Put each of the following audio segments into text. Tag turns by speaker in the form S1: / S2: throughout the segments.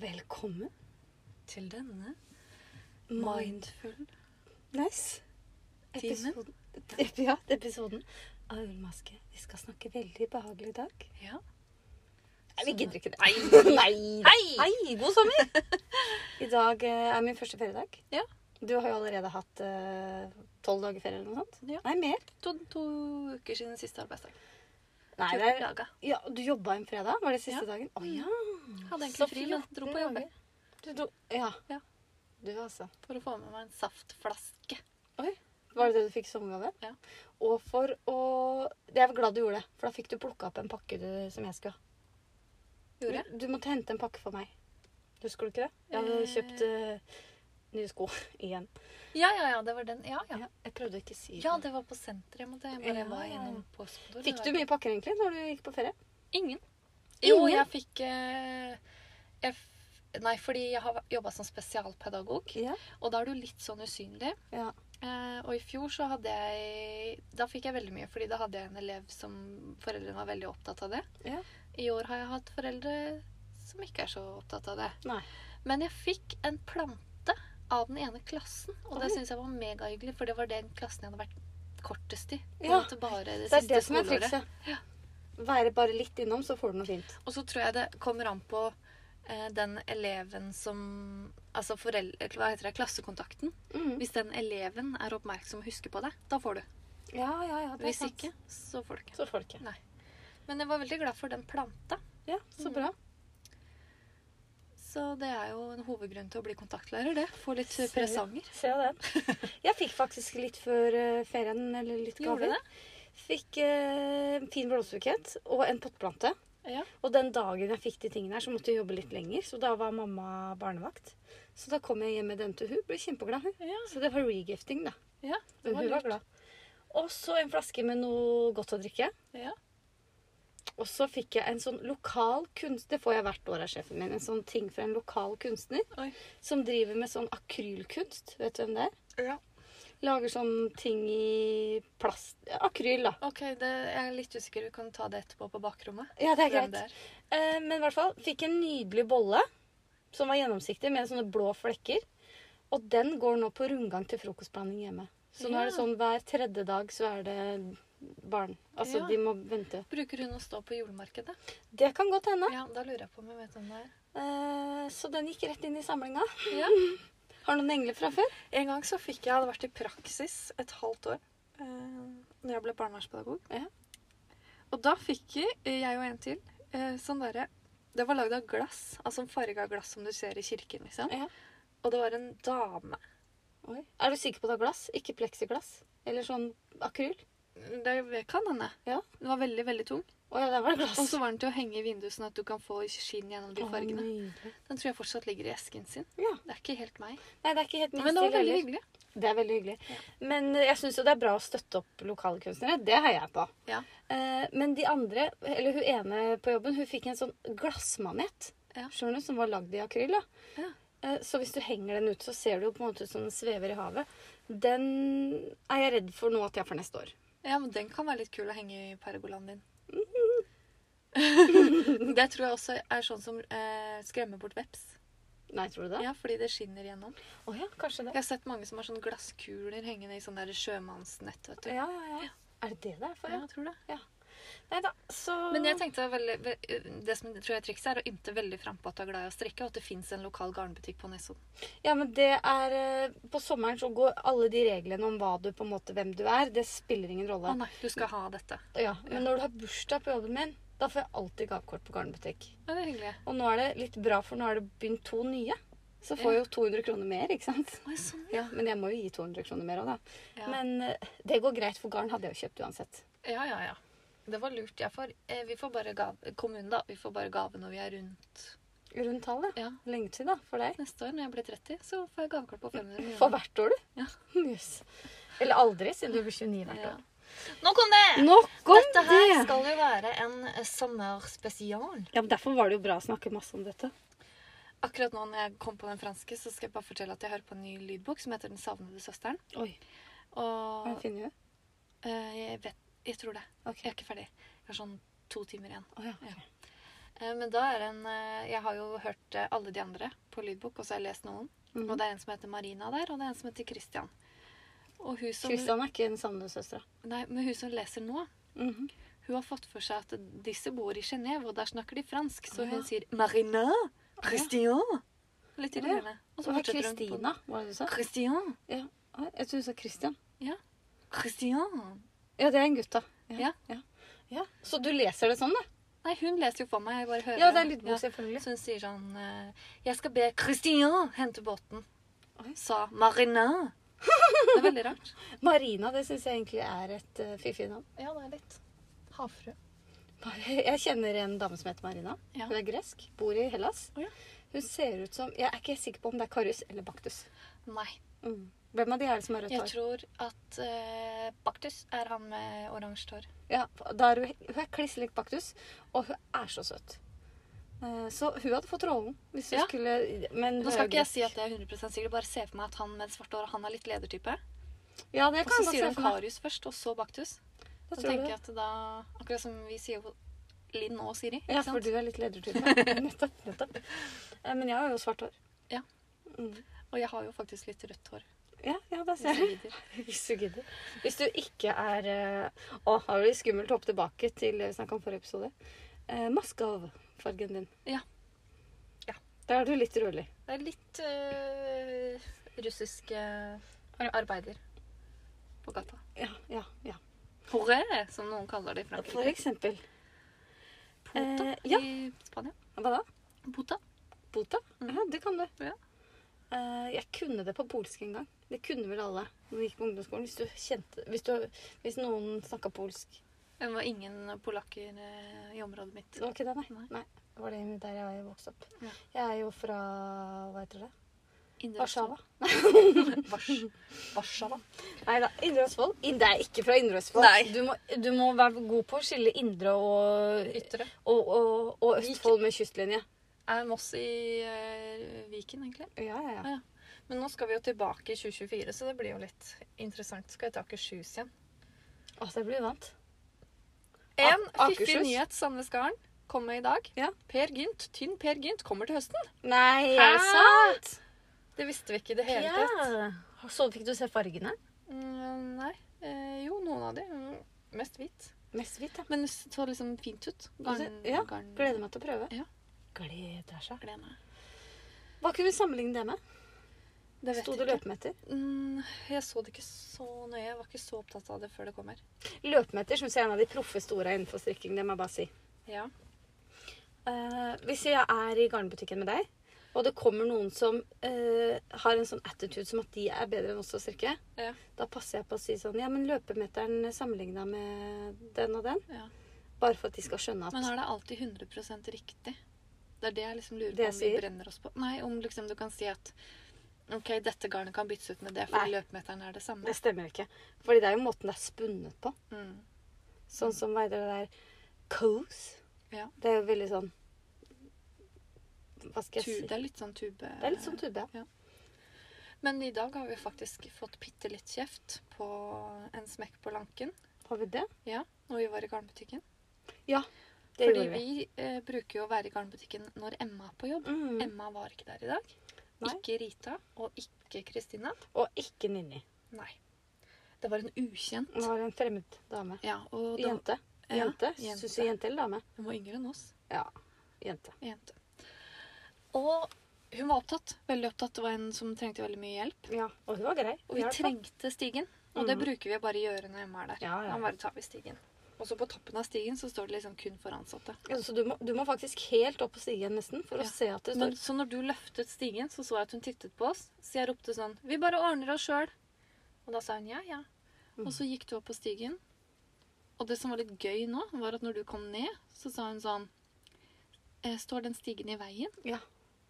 S1: Velkommen til denne
S2: Mm.
S1: mindful
S2: Nice.
S1: Timen.
S2: Episoden. Ep- Ja, episoden.
S1: av ullmaske. Vi skal snakke veldig behagelig i dag.
S2: Ja.
S1: Nei, vi gidder ikke det.
S2: Nei.
S1: Nei. god sommer! I dag eh, er min første feriedag.
S2: Ja.
S1: Du har jo allerede hatt eh, tolv dager ferie eller noe sånt.
S2: Ja.
S1: Nei, mer.
S2: To, to uker siden siste arbeidsdag.
S1: Nei, det
S2: Fjorten
S1: er,
S2: dager.
S1: ja, du jobba en fredag? Var det siste
S2: Ja.
S1: dagen? Å ja.
S2: Hadde
S1: Så
S2: egentlig fri, men dro
S1: 14
S2: på jobb
S1: dager. Du, dro- ja.
S2: Ja.
S1: Du, altså.
S2: for å få med meg en saftflaske.
S1: Oi. Var det det du fikk i sommergave?
S2: Ja.
S1: Og for å Jeg er glad du gjorde det, for da fikk du plukka opp en pakke du, som jeg skulle ha.
S2: Gjorde jeg?
S1: Du, du måtte hente en pakke for meg. Husker du ikke det? Jeg hadde
S2: Eh.
S1: kjøpt eh, nye sko igjen.
S2: Ja, ja, ja. Det var den. Ja, ja.
S1: Ja, jeg prøvde å ikke si
S2: Ja, det var på senteret. Jeg måtte jeg bare
S1: Ja.
S2: var innom postkontoret.
S1: Fikk du
S2: Det var-
S1: mye pakker egentlig når du gikk på ferie?
S2: Ingen. Jo,
S1: Ingen?
S2: jeg fikk eh, jeg, f- Nei, fordi jeg har jobba som spesialpedagog,
S1: Ja.
S2: og da er du litt sånn usynlig.
S1: Ja.
S2: Eh, og i fjor så hadde jeg Da fikk jeg veldig mye, fordi da hadde jeg en elev som foreldrene var veldig opptatt av det.
S1: Ja.
S2: I år har jeg hatt foreldre som ikke er så opptatt av det.
S1: Nei.
S2: Men jeg fikk en plante av den ene klassen, og det
S1: Oi.
S2: syns jeg var megahyggelig, for det var den klassen jeg hadde vært kortest i. på en
S1: Ja.
S2: måte Bare det,
S1: Det er
S2: siste
S1: det som er
S2: skoleåret.
S1: trikset. Være bare litt innom, så får du noe fint.
S2: Og så tror jeg det kommer an på eh, den eleven som Altså foreldre, hva heter det, klassekontakten.
S1: Mhm.
S2: Hvis den eleven er oppmerksom og husker på deg, da får du.
S1: Ja, ja, ja.
S2: Hvis ikke, så får du ikke.
S1: Så får du ikke.
S2: Men jeg var veldig glad for den planta.
S1: Ja, så
S2: Mhm.
S1: bra.
S2: Så det er jo en hovedgrunn til å bli kontaktlærer, det. Få litt
S1: Ser-
S2: presanger.
S1: Se den. Jeg fikk faktisk litt før eh, ferien, eller litt
S2: Gjorde du
S1: gaver.
S2: det?
S1: Fikk eh, en fin blomsterbukett og en pottplante.
S2: Ja.
S1: Og den dagen jeg fikk de tingene her, så måtte jeg jobbe litt lenger. Så da var mamma barnevakt. Så da kom jeg hjem med den til hun, ble kjempeglad hun.
S2: Ja.
S1: Så det var regifting, da.
S2: ja det
S1: Men
S2: var
S1: hun var
S2: lurt.
S1: glad. Og så en flaske med noe godt å drikke.
S2: Ja.
S1: Og så fikk jeg en sånn lokal kunst... Det får jeg hvert år av sjefen min. En sånn ting fra en lokal kunstner
S2: Oi.
S1: som driver med sånn akrylkunst. Vet du hvem det er?
S2: ja.
S1: Lager sånn ting i plast... Akryl, da.
S2: OK, det, jeg er litt usikker. Vi kan ta det etterpå på bakrommet.
S1: Ja, det er
S2: Hvem
S1: greit.
S2: det er.
S1: Eh, men i hvert fall fikk en nydelig bolle som var gjennomsiktig med sånne blå flekker. Og den går nå på rundgang til frokostblanding hjemme. Så nå er det
S2: Ja.
S1: sånn hver tredje dag så er det barn. Altså,
S2: Ja.
S1: de må vente.
S2: Bruker hun å stå på julemarkedet?
S1: Det kan godt hende.
S2: Ja, da lurer jeg på om jeg vet hvem det er.
S1: Eh, så den gikk rett inn i samlinga.
S2: Ja.
S1: Har du noen engler fra før?
S2: En gang så fikk jeg, jeg hadde vært i praksis et halvt år eh, når jeg ble barnevernspedagog.
S1: Ja.
S2: Og da fikk jeg, jeg og en til, eh, sånn derre Det var lagd av glass, altså en farga glass som du ser i kirken, liksom.
S1: Ja.
S2: Og det var en dame.
S1: Oi. Er du sikker på at det er glass? Ikke pleksiglass? Eller sånn akryl?
S2: Det kan hende.
S1: Ja.
S2: Den var veldig, veldig tung.
S1: Å ja, der var det
S2: Og
S1: glass.
S2: så var den til å henge i vinduet sånn at du kan få skinn gjennom de
S1: Å,
S2: fargene.
S1: nydelig.
S2: Den tror jeg fortsatt ligger i esken sin.
S1: Ja.
S2: Det er ikke helt meg.
S1: Nei, det er ikke helt min
S2: Men det var
S1: stil
S2: veldig
S1: heller.
S2: hyggelig.
S1: Det er veldig hyggelig.
S2: Ja.
S1: Men eh, jeg syns jo det er bra å støtte opp lokale kunstnere. Det heier jeg på.
S2: Ja.
S1: Eh, men de andre, eller hun ene på jobben, hun fikk en sånn glassmanet.
S2: Ja.
S1: Skjønner du, som var lagd i akryl. da.
S2: Ja.
S1: Eh, så hvis du henger den ut, så ser du jo på en måte ut som den svever i havet. Den er jeg redd for nå at jeg får neste år.
S2: Ja, men den kan være litt kul å henge i pergolaen din. det tror jeg også er sånn som eh, skremmer bort veps.
S1: Nei, tror du det?
S2: Ja, fordi det skinner gjennom.
S1: Å ja, kanskje det.
S2: Jeg har sett mange som har sånne glasskuler hengende i sånn der sjømannsnett, vet du.
S1: Ja, ja, ja. Er det det det er for?
S2: Ja,
S1: Ja.
S2: jeg tror det.
S1: Nei da, så
S2: Men jeg tenkte veldig, ve- det som jeg tror jeg er trikset er å ymte veldig frampå at du er glad i å strikke, og at det fins en lokal garnbutikk på Nesodden.
S1: Ja, men det er eh, På sommeren så går alle de reglene om hva du på en måte, hvem du er, det spiller ingen rolle.
S2: Å nei, du skal ha dette.
S1: Ja, men når du har bursdag på jobben min, da får jeg alltid gavekort på garnbutikk.
S2: Ja, det er hyggelig.
S1: Og nå er det litt bra, for nå er det begynt to nye. Så får jeg jo 200 kroner mer, ikke sant?
S2: Oi, sånn.
S1: Ja, Men jeg må jo gi 200 kroner mer òg, da.
S2: Ja.
S1: Men eh, det går greit, for garn hadde jeg jo kjøpt uansett.
S2: Ja, ja, ja. Det var lurt. Jeg får, eh, vi får bare gave, kommunen da, vi får bare gave når vi er rundt.
S1: Rundt tallet.
S2: Ja,
S1: Lenge til, da, for deg.
S2: neste år når jeg blir 30, så får jeg gavekort på 500 millioner.
S1: For hvert år, du.
S2: Ja.
S1: Jøss. Eller aldri, siden du blir 29 hvert
S2: Ja.
S1: år.
S2: Nå kom det!
S1: Nok om
S2: Dette her
S1: det!
S2: skal jo være en eh, sommerspesial.
S1: Ja, men Derfor var det jo bra å snakke masse om dette.
S2: Akkurat nå når jeg kom på den franske, så skal jeg bare fortelle at jeg hører på en ny lydbok som heter Den savnede søsteren.
S1: Oi, hva
S2: Og
S1: finner du?
S2: eh, jeg vet Jeg tror det.
S1: Ok.
S2: Jeg er ikke ferdig. Jeg har sånn to timer igjen.
S1: Å ja.
S2: Ja. Eh, Men da er en eh, Jeg har jo hørt eh, alle de andre på lydbok, og så har jeg lest noen.
S1: Mhm.
S2: Og det er en som heter Marina der, og det er en som heter Christian. Og hun som,
S1: Kristian Mhm. er ikke den samme søstera.
S2: nei, men hun som leser nå,
S1: Mhm.
S2: hun har fått for seg at disse bor i Genéve, og der snakker de fransk. Så
S1: Å,
S2: hun
S1: ja.
S2: sier 'Marina'. Christian. Litt
S1: Å, ja.
S2: tidligere. Og
S1: Så
S2: så
S1: var
S2: fortsetter hun på
S1: Kristina, var det du sa?
S2: Christian.
S1: Nei, Jeg tror du sa Kristian.
S2: Christian.
S1: Ja, det er en gutt, da.
S2: Ja.
S1: ja. Ja. Så du leser det sånn, da?
S2: Nei, hun leser jo for meg. Jeg bare hører.
S1: Ja, det er lydbok,
S2: Ja.
S1: selvfølgelig.
S2: Så hun sier sånn eh, 'Jeg skal be Christian hente båten',
S1: Oi.
S2: sa Marina. Det er veldig rart.
S1: Marina, det syns jeg egentlig er et eh, fiffig navn.
S2: Ja, det er litt havfrue.
S1: Jeg kjenner en dame som heter Marina.
S2: Ja.
S1: Hun er gresk, bor i Hellas.
S2: Å, ja.
S1: Hun ser ut som Jeg er ikke helt sikker på om det er Karus eller Baktus.
S2: Nei.
S1: Mm. Hvem av de er det som har rødt
S2: Jeg
S1: hår?
S2: tror at eh, Baktus er han med oransje hår.
S1: Ja, da er hun, hun er kliss lik Baktus, og hun er så søt. Eh, Så hun hadde fått rollen hvis hun
S2: Ja.
S1: skulle Men
S2: Nå skal ikke jeg si at jeg er 100 sikker, bare se for meg at han med det svarte håret, han er litt ledertype.
S1: Ja, det
S2: Og
S1: kan jeg godt
S2: så sier
S1: se
S2: han
S1: for meg.
S2: Karius først, og så Baktus.
S1: Da
S2: Så
S1: tror jeg
S2: tenker
S1: det.
S2: jeg at da Akkurat som vi sier jo Linn og Siri.
S1: Ja,
S2: ikke sant?
S1: for du er litt ledertype. nettopp. nettopp. Eh, Men jeg har jo svart hår.
S2: Ja.
S1: Mm.
S2: Og jeg har jo faktisk litt rødt hår.
S1: Ja, ja, da
S2: Hvis
S1: ser
S2: jeg
S1: jeg.
S2: gidder.
S1: Hvis du gidder. Hvis du ikke er eh, Å, har vi skummelt hopp tilbake til det vi snakka om forrige episode. Eh, Maskavfargen din.
S2: Ja. Ja.
S1: Da er du litt eh, rødlig.
S2: Det er litt øh, russisk øh, arbeider på gata.
S1: Ja, ja, ja.
S2: Horé, som noen kaller det i
S1: For
S2: Frankrike.
S1: eksempel.
S2: Puta
S1: Eh, ja.
S2: i Spania.
S1: Hva da?
S2: Puta.
S1: Bota?
S2: Mhm.
S1: Ja, det kan du.
S2: Ja.
S1: Eh, jeg kunne det på polsk en gang. Det kunne vel alle når vi gikk på ungdomsskolen. Hvis, du kjente, hvis, du, hvis noen snakka polsk.
S2: Det var ingen polakker eh, i området mitt.
S1: Det var ikke det, nei.
S2: Nei.
S1: nei. Det var det der jeg vokste opp.
S2: Ja.
S1: Jeg er jo fra hva heter det?
S2: Indre
S1: Warszawa.
S2: Østfold. Vars- Warszawa.
S1: Nei da. Indre Østfold? In- Det er ikke fra Indre Østfold.
S2: Nei.
S1: Du, må, du må være god på å skille indre og,
S2: Ytre.
S1: og, og, og Østfold med kystlinje.
S2: Er Moss i eh, Viken, egentlig.
S1: Ja, ja, ja.
S2: Men nå skal vi jo tilbake i 2024, så det blir jo litt interessant. Skal jeg til Akershus igjen?
S1: Altså, jeg blir vant.
S2: En
S1: A-
S2: fiffig
S1: Akershus.
S2: nyhet Sandnes Garn kom med i dag.
S1: Ja.
S2: Per Gynt, tynn Per Gynt, kommer til høsten.
S1: Nei,
S2: Hæ?
S1: er det sant?
S2: Det visste vi ikke i det hele tatt.
S1: Ja. Så fikk du se fargene?
S2: Mm, nei. Eh, jo, noen av de. Mm, mest hvit. Altså,
S1: Mest hvitt, ja.
S2: Men det så liksom fint ut. Garn,
S1: Ja,
S2: garn,
S1: Gleder meg til å prøve.
S2: Ja.
S1: Gleder seg.
S2: gleder meg.
S1: Hva kunne vi sammenligne det med?
S2: Det vet
S1: Sto
S2: jeg
S1: det
S2: ikke.
S1: løpemeter?
S2: Mm, jeg så det ikke så nøye. Jeg var ikke så opptatt av det før det kommer.
S1: Løpemeter syns jeg er en av de proffe store innenfor strikking. Det må jeg bare si.
S2: Ja.
S1: Eh, hvis jeg er i garnbutikken med deg, og det kommer noen som eh, har en sånn attitude som at de er bedre enn oss til å strikke,
S2: Ja.
S1: da passer jeg på å si sånn Ja, men løpemeteren sammenligna med den og den.
S2: Ja.
S1: Bare for at de skal skjønne at
S2: Men er det alltid 100 riktig? Det er det jeg liksom lurer
S1: Det
S2: på
S1: jeg
S2: om vi
S1: sier?
S2: brenner oss på. Nei, om liksom du kan si at OK, dette garnet kan byttes ut med det, for
S1: Nei.
S2: løpemeteren er det samme.
S1: Det stemmer ikke. Fordi det er jo måten det er spunnet på.
S2: Mm.
S1: Sånn som hva heter det der Cose.
S2: Ja.
S1: Det er jo veldig sånn Hva skal
S2: Tu,
S1: jeg si?
S2: det er litt sånn tube...
S1: Det er litt sånn tube.
S2: Men i dag har vi faktisk fått bitte litt kjeft på en smekk på lanken
S1: Har vi det?
S2: når vi var i garnbutikken.
S1: Det
S2: Fordi
S1: gjorde vi.
S2: vi eh, bruker jo å være i garnbutikken når Emma er på jobb.
S1: Mm.
S2: Emma var ikke der i dag.
S1: Nei.
S2: Ikke Rita og ikke Kristina.
S1: Og ikke Ninni.
S2: Nei. Det var en ukjent.
S1: Hun var en fremmed dame.
S2: Ja, og det,
S1: Jente.
S2: Ja,
S1: Jente?
S2: jente.
S1: Syns du jente eller dame?
S2: hun var yngre enn oss.
S1: Ja. Jente.
S2: Jente. Og hun var opptatt. Veldig opptatt. Det var en som trengte veldig mye hjelp.
S1: Ja, Og hun var grei.
S2: Og vi
S1: Hjalp, da.
S2: trengte stigen. Og det
S1: Mhm.
S2: bruker vi å bare gjøre når Emma er der.
S1: Ja, ja, ja.
S2: Da bare tar vi stigen. Og så på toppen av stigen så står det liksom kun for ansatte.
S1: Ja, så du må, du må faktisk helt opp på stigen nesten for
S2: Ja.
S1: å se at det
S2: Men,
S1: står
S2: så når du løftet stigen, så så jeg at hun tittet på oss. Så jeg ropte sånn Vi bare ordner oss sjøl. Og da sa hun ja, ja.
S1: Mm.
S2: Og så gikk du opp på stigen. Og det som var litt gøy nå, var at når du kom ned, så sa hun sånn «Eh, Står den stigen i veien?
S1: Ja.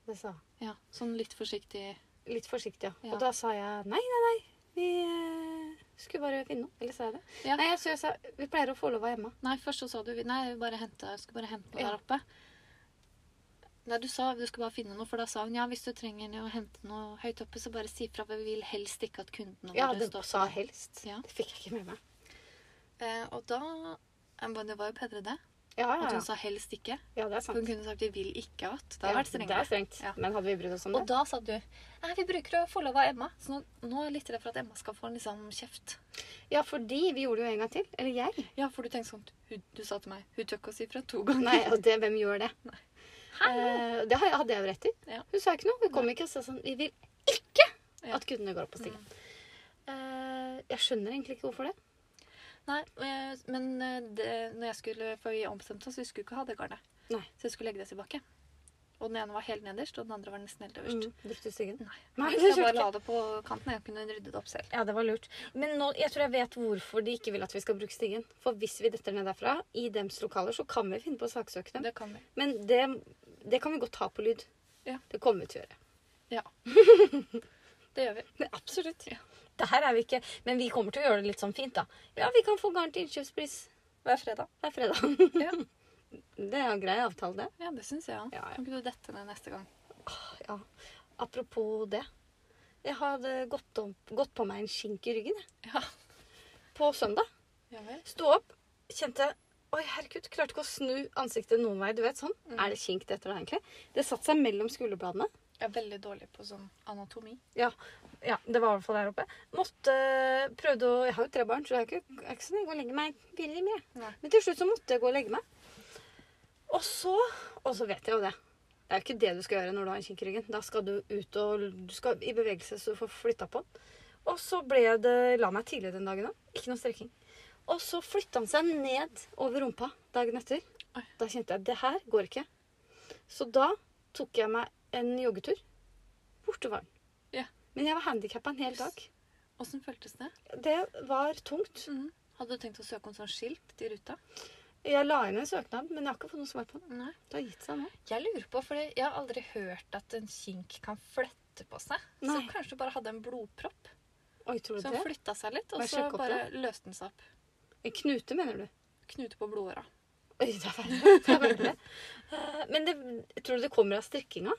S1: Det sa hun.
S2: Ja. Sånn litt forsiktig.
S1: Litt forsiktig, ja.
S2: Ja.
S1: Og da sa jeg nei, nei, nei. Vi eh, skulle bare finne noe. Eller sa jeg det?
S2: Ja.
S1: Nei, jeg, så jeg sa vi pleier å få lov av Emma.
S2: Nei, først så sa du Nei, jeg vil bare hente, jeg skal bare hente noe
S1: Ja.
S2: der oppe. Nei, du sa du skal bare finne noe, for da sa hun ja, hvis du trenger å hente noe høyt oppe, så bare si fra. for Vi vil helst ikke at kundene
S1: Ja,
S2: våre
S1: det
S2: står
S1: sa helst.
S2: Ja.
S1: Det fikk jeg ikke med meg.
S2: Eh, og da eh, men Det var jo bedre, det.
S1: Ja, ja,
S2: At hun
S1: ja.
S2: sa helst ikke.
S1: ja det er sant.
S2: Hun kunne sagt 'jeg vil ikke at'. Det hadde vært
S1: Ja, Det
S2: strengere.
S1: er strengt.
S2: Ja.
S1: Men hadde vi brydd oss om
S2: Og
S1: det?
S2: da sa du 'nei, vi bruker å få lov av Emma'. Så nå, nå er jeg litt redd for at Emma skal få en liksom kjeft.
S1: Ja, fordi vi gjorde det jo en gang til. Eller jeg.
S2: Ja, for du tenkte sånn hun, Du sa til meg 'hun tør ikke å si fra to ganger'.
S1: Nei, og det, hvem gjør det?
S2: Hæ?
S1: Eh, det har- hadde jeg jo rett i.
S2: Ja.
S1: Hun sa ikke noe. Hun kom ikke og sa sånn Vi vil ikke
S2: Ja.
S1: at kundene går opp på stigen. Eh, jeg skjønner egentlig ikke hvorfor det.
S2: Nei, eh, men eh, det, når jeg skulle, for vi ombestemte oss, vi skulle ikke ha det garnet.
S1: Nei.
S2: Så jeg skulle legge det tilbake. Og den ene var helt nederst, og den andre var nesten helt øverst.
S1: Mm. Brukte du stigen?
S2: Nei.
S1: Nei,
S2: Så
S1: det
S2: jeg bare
S1: skjønte
S2: la
S1: jeg.
S2: det på kanten. Jeg kunne rydde det opp selv.
S1: Ja, det var lurt. Men nå, jeg tror jeg vet hvorfor de ikke vil at vi skal bruke stigen. For hvis vi detter ned derfra, i dems lokaler, så kan vi finne på å saksøke dem.
S2: Det kan vi.
S1: Men det, det kan vi godt ta på lyd.
S2: Ja.
S1: Det kommer vi til å gjøre.
S2: Det gjør vi.
S1: Men absolutt.
S2: Ja.
S1: Det her er vi ikke Men vi kommer til å gjøre det litt sånn fint, da. Ja, vi kan få garn til innkjøpspris.
S2: Hver fredag.
S1: Det er fredag.
S2: Ja,
S1: Det er en grei avtale, det.
S2: ja det syns jeg.
S1: Ja, ja.
S2: Kan ikke du dette ned neste gang?
S1: Ja. Apropos det. Jeg hadde gått, om, gått på meg en skink i ryggen jeg.
S2: Ja.
S1: på søndag.
S2: Ja vel.
S1: Sto opp, kjente Oi, herregud, klarte ikke å snu ansiktet noen vei. Du vet sånn.
S2: Mm.
S1: Er det skink det heter da, egentlig? Det satte seg mellom skulderbladene.
S2: Jeg er veldig dårlig på sånn anatomi.
S1: Ja, det var i hvert fall der oppe. Måtte, prøvde å, Jeg har jo tre barn, så jeg er ikke, jeg er ikke så nøye å legge meg veldig mye.
S2: Nei.
S1: Men til slutt så måtte jeg gå og legge meg. Og så Og så vet jeg jo det. Det er jo ikke det du skal gjøre når du har en kink i ryggen. Da skal du ut og du skal i bevegelse så du får flytta på den. Og så ble det La meg tidlig den dagen òg. Ikke noe strekking. Og så flytta han seg ned over rumpa dagen etter.
S2: Oi.
S1: Da kjente jeg det her går ikke. Så da tok jeg meg en joggetur. Borte var den.
S2: Ja.
S1: Men jeg var handikappa en hel dag.
S2: Åssen føltes det?
S1: Det var tungt.
S2: Mhm. Hadde du tenkt å søke om sånn skilt til ruta?
S1: Jeg la inn en søknad, men jeg har ikke fått noe svar på den.
S2: Nei.
S1: Det har gitt seg nå.
S2: Jeg lurer på, for jeg har aldri hørt at en kink kan flette på seg.
S1: Nei.
S2: Så kanskje du bare hadde en blodpropp
S1: Oi, tror du
S2: som
S1: det?
S2: flytta seg litt, og
S1: Må jeg
S2: så
S1: sjekke opp
S2: bare løste den seg opp.
S1: En knute, mener du?
S2: Knute på blodåra.
S1: Oi, det er verre. Det er verre. Eh, Men det, tror du det kommer av strikkinga?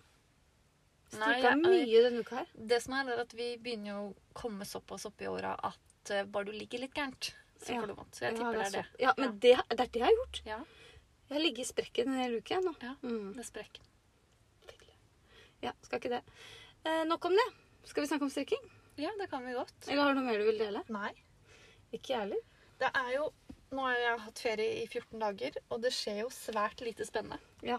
S2: Nei,
S1: Strikka
S2: jeg-
S1: mye denne uka her.
S2: Det som er, er at vi begynner jo å komme såpass opp i åra at eh, bare du ligger litt gærent, så
S1: Ja.
S2: får du vondt. Så jeg tipper
S1: ja,
S2: det er det.
S1: så- altså- Ja, men det, det er det jeg har gjort.
S2: Ja,
S1: Jeg har ligget i sprekken en hel uke jeg, nå.
S2: Ja.
S1: Mm.
S2: det sprekker.
S1: ja, skal ikke det. Eh, nok om det. Skal vi snakke om strikking?
S2: Ja, det kan vi godt.
S1: Eller har du noe mer du vil dele?
S2: Nei.
S1: Ikke jeg heller.
S2: Det er jo Nå har jeg hatt ferie i 14 dager, og det skjer jo svært lite spennende.
S1: Ja,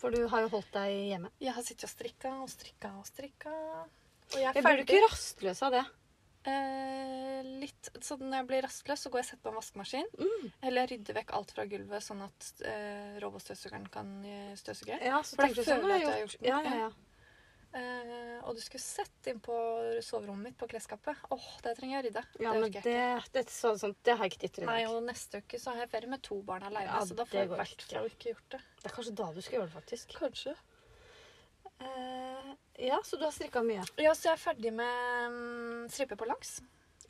S1: for du har jo holdt deg hjemme.
S2: Jeg har sittet og strikka og strikka og strikka. Og jeg er
S1: Jeg blir jo
S2: ferdig.
S1: ikke rastløs av det.
S2: Eh, litt, så når jeg blir rastløs, så går jeg og setter på en vaskemaskin.
S1: Mm.
S2: Eller jeg rydder vekk alt fra gulvet, sånn at eh, robotstøvsugeren kan eh, støvsuge.
S1: Ja, så
S2: For da
S1: tenker du
S2: føler
S1: sånn, nå har
S2: jeg
S1: jeg
S2: at jeg har
S1: gjort
S2: gjort noe.
S1: Ja, ja, ja.
S2: Eh, og du skulle sett inn på soverommet mitt på klesskapet. Åh, det trenger jeg å rydde.
S1: Ja,
S2: det
S1: men
S2: orker jeg
S1: det, det, så, sånn, det har jeg ikke tid til i
S2: ikke. Nei,
S1: dag.
S2: og neste uke så har jeg ferie med to barn alene,
S1: Ja,
S2: så da får
S1: det
S2: jeg
S1: går
S2: i hvert
S1: ikke.
S2: fall ikke gjort det.
S1: Det er kanskje da du skal gjøre det, faktisk.
S2: Kanskje.
S1: Eh, ja, så du har strikka mye.
S2: Ja, så jeg er ferdig med mm, strippe på langs.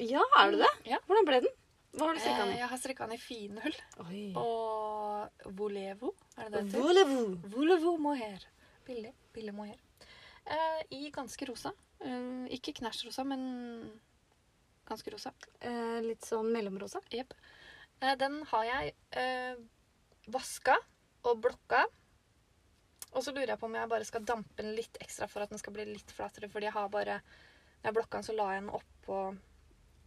S1: Ja, er du det?
S2: Ja.
S1: Hvordan ble den? Hva har du strikka
S2: Eh,
S1: den i?
S2: jeg har strikka den i finull.
S1: Oi.
S2: Og volevo, er det det heter?
S1: Volevo.
S2: Volevo mohair. Billig. Billig mohair. Eh, I ganske rosa. Eh, ikke knæsj rosa, men ganske rosa.
S1: Eh, litt sånn mellomrosa.
S2: Jepp. Eh, den har jeg eh, vaska og blokka. Og så lurer jeg på om jeg bare skal dampe den litt ekstra for at den skal bli litt flatere. Fordi jeg har bare Når jeg blokka den, så la jeg den oppå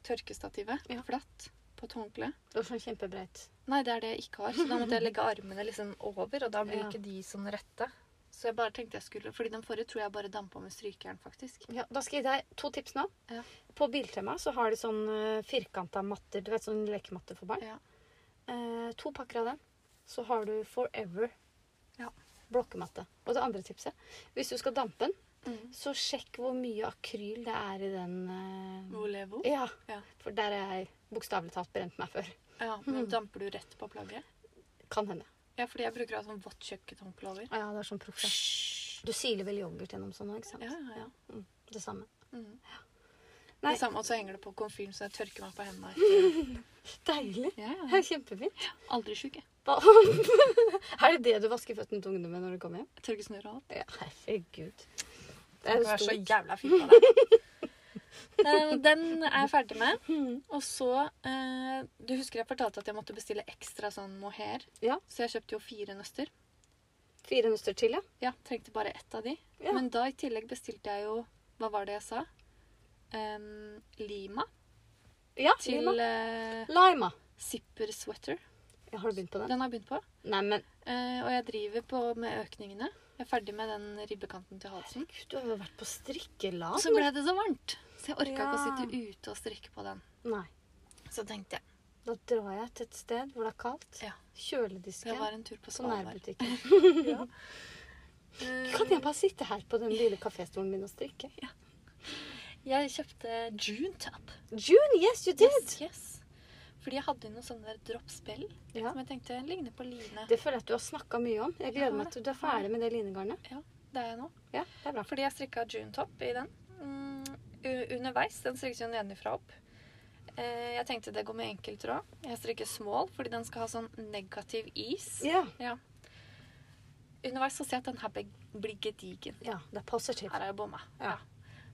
S2: tørkestativet.
S1: Ja.
S2: Flatt. På et håndkle.
S1: Det var sånn kjempebreit.
S2: Nei, det er det jeg ikke har. Så da måtte jeg legge armene liksom over, og da blir
S1: Ja.
S2: ikke de sånn rette. Så jeg bare tenkte jeg skulle Fordi den forrige tror jeg bare dampa med strykejern, faktisk.
S1: Ja, da skal jeg gi deg to tips nå.
S2: Ja.
S1: På Biltema så har de sånn uh, firkanta matter. Du vet sånn lekematte for barn.
S2: Ja.
S1: Eh, to pakker av den. Så har du Forever
S2: Ja.
S1: blokkematte. Og det andre tipset Hvis du skal dampe den,
S2: Mm.
S1: så sjekk hvor mye akryl det er i den. eh,
S2: Volevo.
S1: Ja.
S2: Ja.
S1: For der har jeg bokstavelig talt brent meg før.
S2: Ja, men
S1: Mm.
S2: damper du rett på plagget?
S1: Kan hende.
S2: Ja, fordi jeg bruker å ha sånn vått kjøkkenhåndkle over.
S1: Ah, ja, det er sånn proff. ja.
S2: Hysj.
S1: Du siler vel yoghurt gjennom sånn òg, ikke sant?
S2: Ja, ja, ja.
S1: Mm, det samme.
S2: Mm.
S1: Nei.
S2: Det samme, og så henger det på komfyren, så jeg tørker meg på hendene. etter-
S1: Deilig.
S2: Ja,
S1: Det
S2: ja.
S1: er Kjempefint.
S2: Aldri sjuk, jeg.
S1: Hva- er det det du vasker føttene til ungene med når du kommer hjem?
S2: Tørker snørr og alt.
S1: Ja, herregud. Det
S2: Det
S1: er
S2: kan
S1: jo
S2: være så
S1: stort.
S2: jævla fint av deg. Eh, Den er jeg ferdig med.
S1: Mm.
S2: Og så eh, Du husker jeg fortalte at jeg måtte bestille ekstra sånn mohair?
S1: Ja.
S2: Så jeg kjøpte jo fire nøster.
S1: Fire nøster til, ja.
S2: Ja, Trengte bare ett av de.
S1: Ja.
S2: Men da i tillegg bestilte jeg jo Hva var det jeg sa? Em, lima
S1: Ja,
S2: til
S1: Lima.
S2: eh,
S1: Lima.
S2: zipper sweater.
S1: Ja, har du begynt på den?
S2: Den har jeg begynt på.
S1: Nei, men
S2: Eh, og jeg driver på med økningene. Jeg er ferdig med den ribbekanten til halsen.
S1: gud, du har jo vært på strikkelag.
S2: Og så ble det så varmt, så jeg orka ikke å
S1: Ja.
S2: sitte ute og strikke på den.
S1: Nei.
S2: Så tenkte jeg
S1: Da drar jeg til et sted hvor det er kaldt.
S2: Ja. Det
S1: Kjøledisken.
S2: var en tur på
S1: På
S2: Svalbard.
S1: nærbutikken.
S2: Eh,
S1: Kan jeg bare sitte her på den lille kaféstolen min og strikke?
S2: Mm. Jeg kjøpte June Top.
S1: June, yes, you did!
S2: Yes, yes. Fordi jeg hadde noen sånne der droppspill
S1: Ja.
S2: som jeg tenkte ligner på line.
S1: Det føler jeg at du har snakka mye om. Jeg gleder
S2: har
S1: meg til du er
S2: det. Har det.
S1: ferdig med det linegarnet.
S2: Det er jeg nå.
S1: Ja, det er bra.
S2: Fordi jeg strikka June Top i den. Mm, u- underveis. Den strikkes jo nedenfra opp. Eh, jeg tenkte det går med enkel tråd. Jeg strikker small fordi den skal ha sånn negativ is.
S1: Ja,
S2: Underveis så ser jeg at den her blir- blir gedigen.
S1: ja det er positivt.
S2: Her har jeg bomma.
S1: Ja.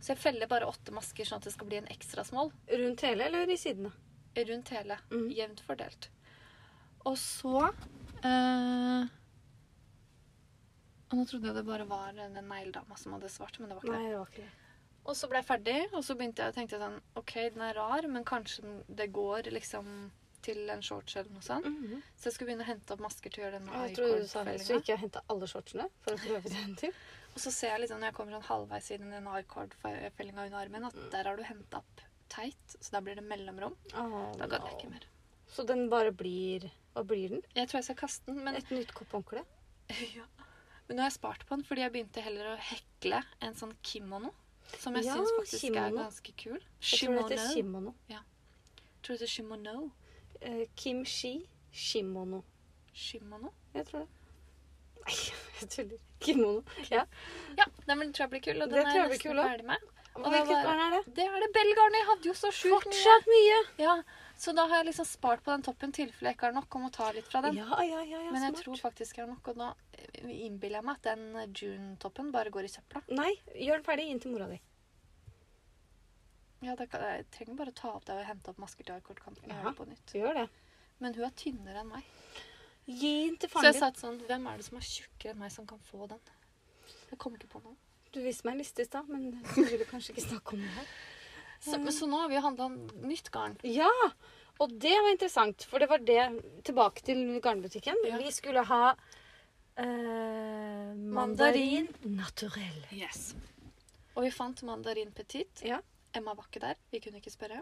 S2: Så jeg feller bare åtte masker sånn at det skal bli en ekstra small
S1: Rundt hele eller i sidene?
S2: rundt hele.
S1: Mhm.
S2: Jevnt fordelt. Og så eh, og Nå trodde jeg det bare var den negledama som hadde svart, men det var ikke det.
S1: Nei, det var ikke det.
S2: Og så ble jeg ferdig, og så begynte jeg å tenke sånn OK, den er rar, men kanskje den- det går liksom til en shorts eller noe sånt. Så jeg skulle begynne å hente opp masker til å gjøre denne
S1: Mm. Mhm. Jeg tror du sa det. Så
S2: i-cord-fellinga.
S1: gikk jeg og henta alle shortsene for å prøve den til.
S2: Og så ser jeg liksom når jeg kommer sånn halvveis i den i-cord-fellinga under armen,
S1: Mm.
S2: at der har du henta opp teit, så der blir det mellomrom. Da gadd jeg ikke mer.
S1: Så den bare blir Hva blir den?
S2: Jeg tror jeg skal kaste den, men,
S1: Et nytt kopphåndkle?
S2: ja. men nå har jeg spart på den fordi jeg begynte heller å hekle en sånn kimono. Som jeg
S1: Ja,
S2: syns faktisk er
S1: kimono.
S2: ganske kul.
S1: Jeg tror det heter
S2: Shimono.
S1: shimono.
S2: Tror det heter shimono.
S1: Eh, Kimchi shimono.
S2: Shimono?
S1: Jeg tror det. Nei, jeg tuller. Kimono. Ja.
S2: Ja, nei, men den tror jeg blir kul, og
S1: Det
S2: den er
S1: tror jeg blir
S2: jeg nesten
S1: kul også.
S2: ferdig med. Og det
S1: Hvilket
S2: var-
S1: garn er det?
S2: Det er det belgarnet! Jeg hadde jo så sjukt mye.
S1: Fortsatt mye!
S2: Ja, så da har jeg liksom spart på den toppen tilfelle jeg ikke har nok, og må ta litt fra den.
S1: Ja, ja, ja, ja
S2: men jeg
S1: smart.
S2: tror faktisk jeg har nok, og nå eh, innbiller jeg meg at den June-toppen bare går i søpla.
S1: Nei, gjør den ferdig inn til mora di.
S2: Ja, da kan, Jeg trenger bare å ta opp det og hente opp masker til akkordkanten.
S1: Ja.
S2: Ja. på nytt.
S1: Så gjør det.
S2: Men hun er tynnere enn meg.
S1: Gi den til
S2: Så jeg
S1: faren din.
S2: satt sånn Hvem er det som er tjukkere enn meg, som kan få den? Jeg kommer ikke på noen.
S1: Du viste meg en liste i stad, men vi ville kanskje ikke snakke om det her.
S2: Så,
S1: Mm.
S2: så nå har vi handla nytt garn.
S1: Ja, og det var interessant, for det var det Tilbake til garnbutikken.
S2: Ja.
S1: Vi skulle ha eh, mandarin naturell.
S2: Yes. Og vi fant mandarin petit.
S1: Ja.
S2: Emma var ikke der. Vi kunne ikke spørre.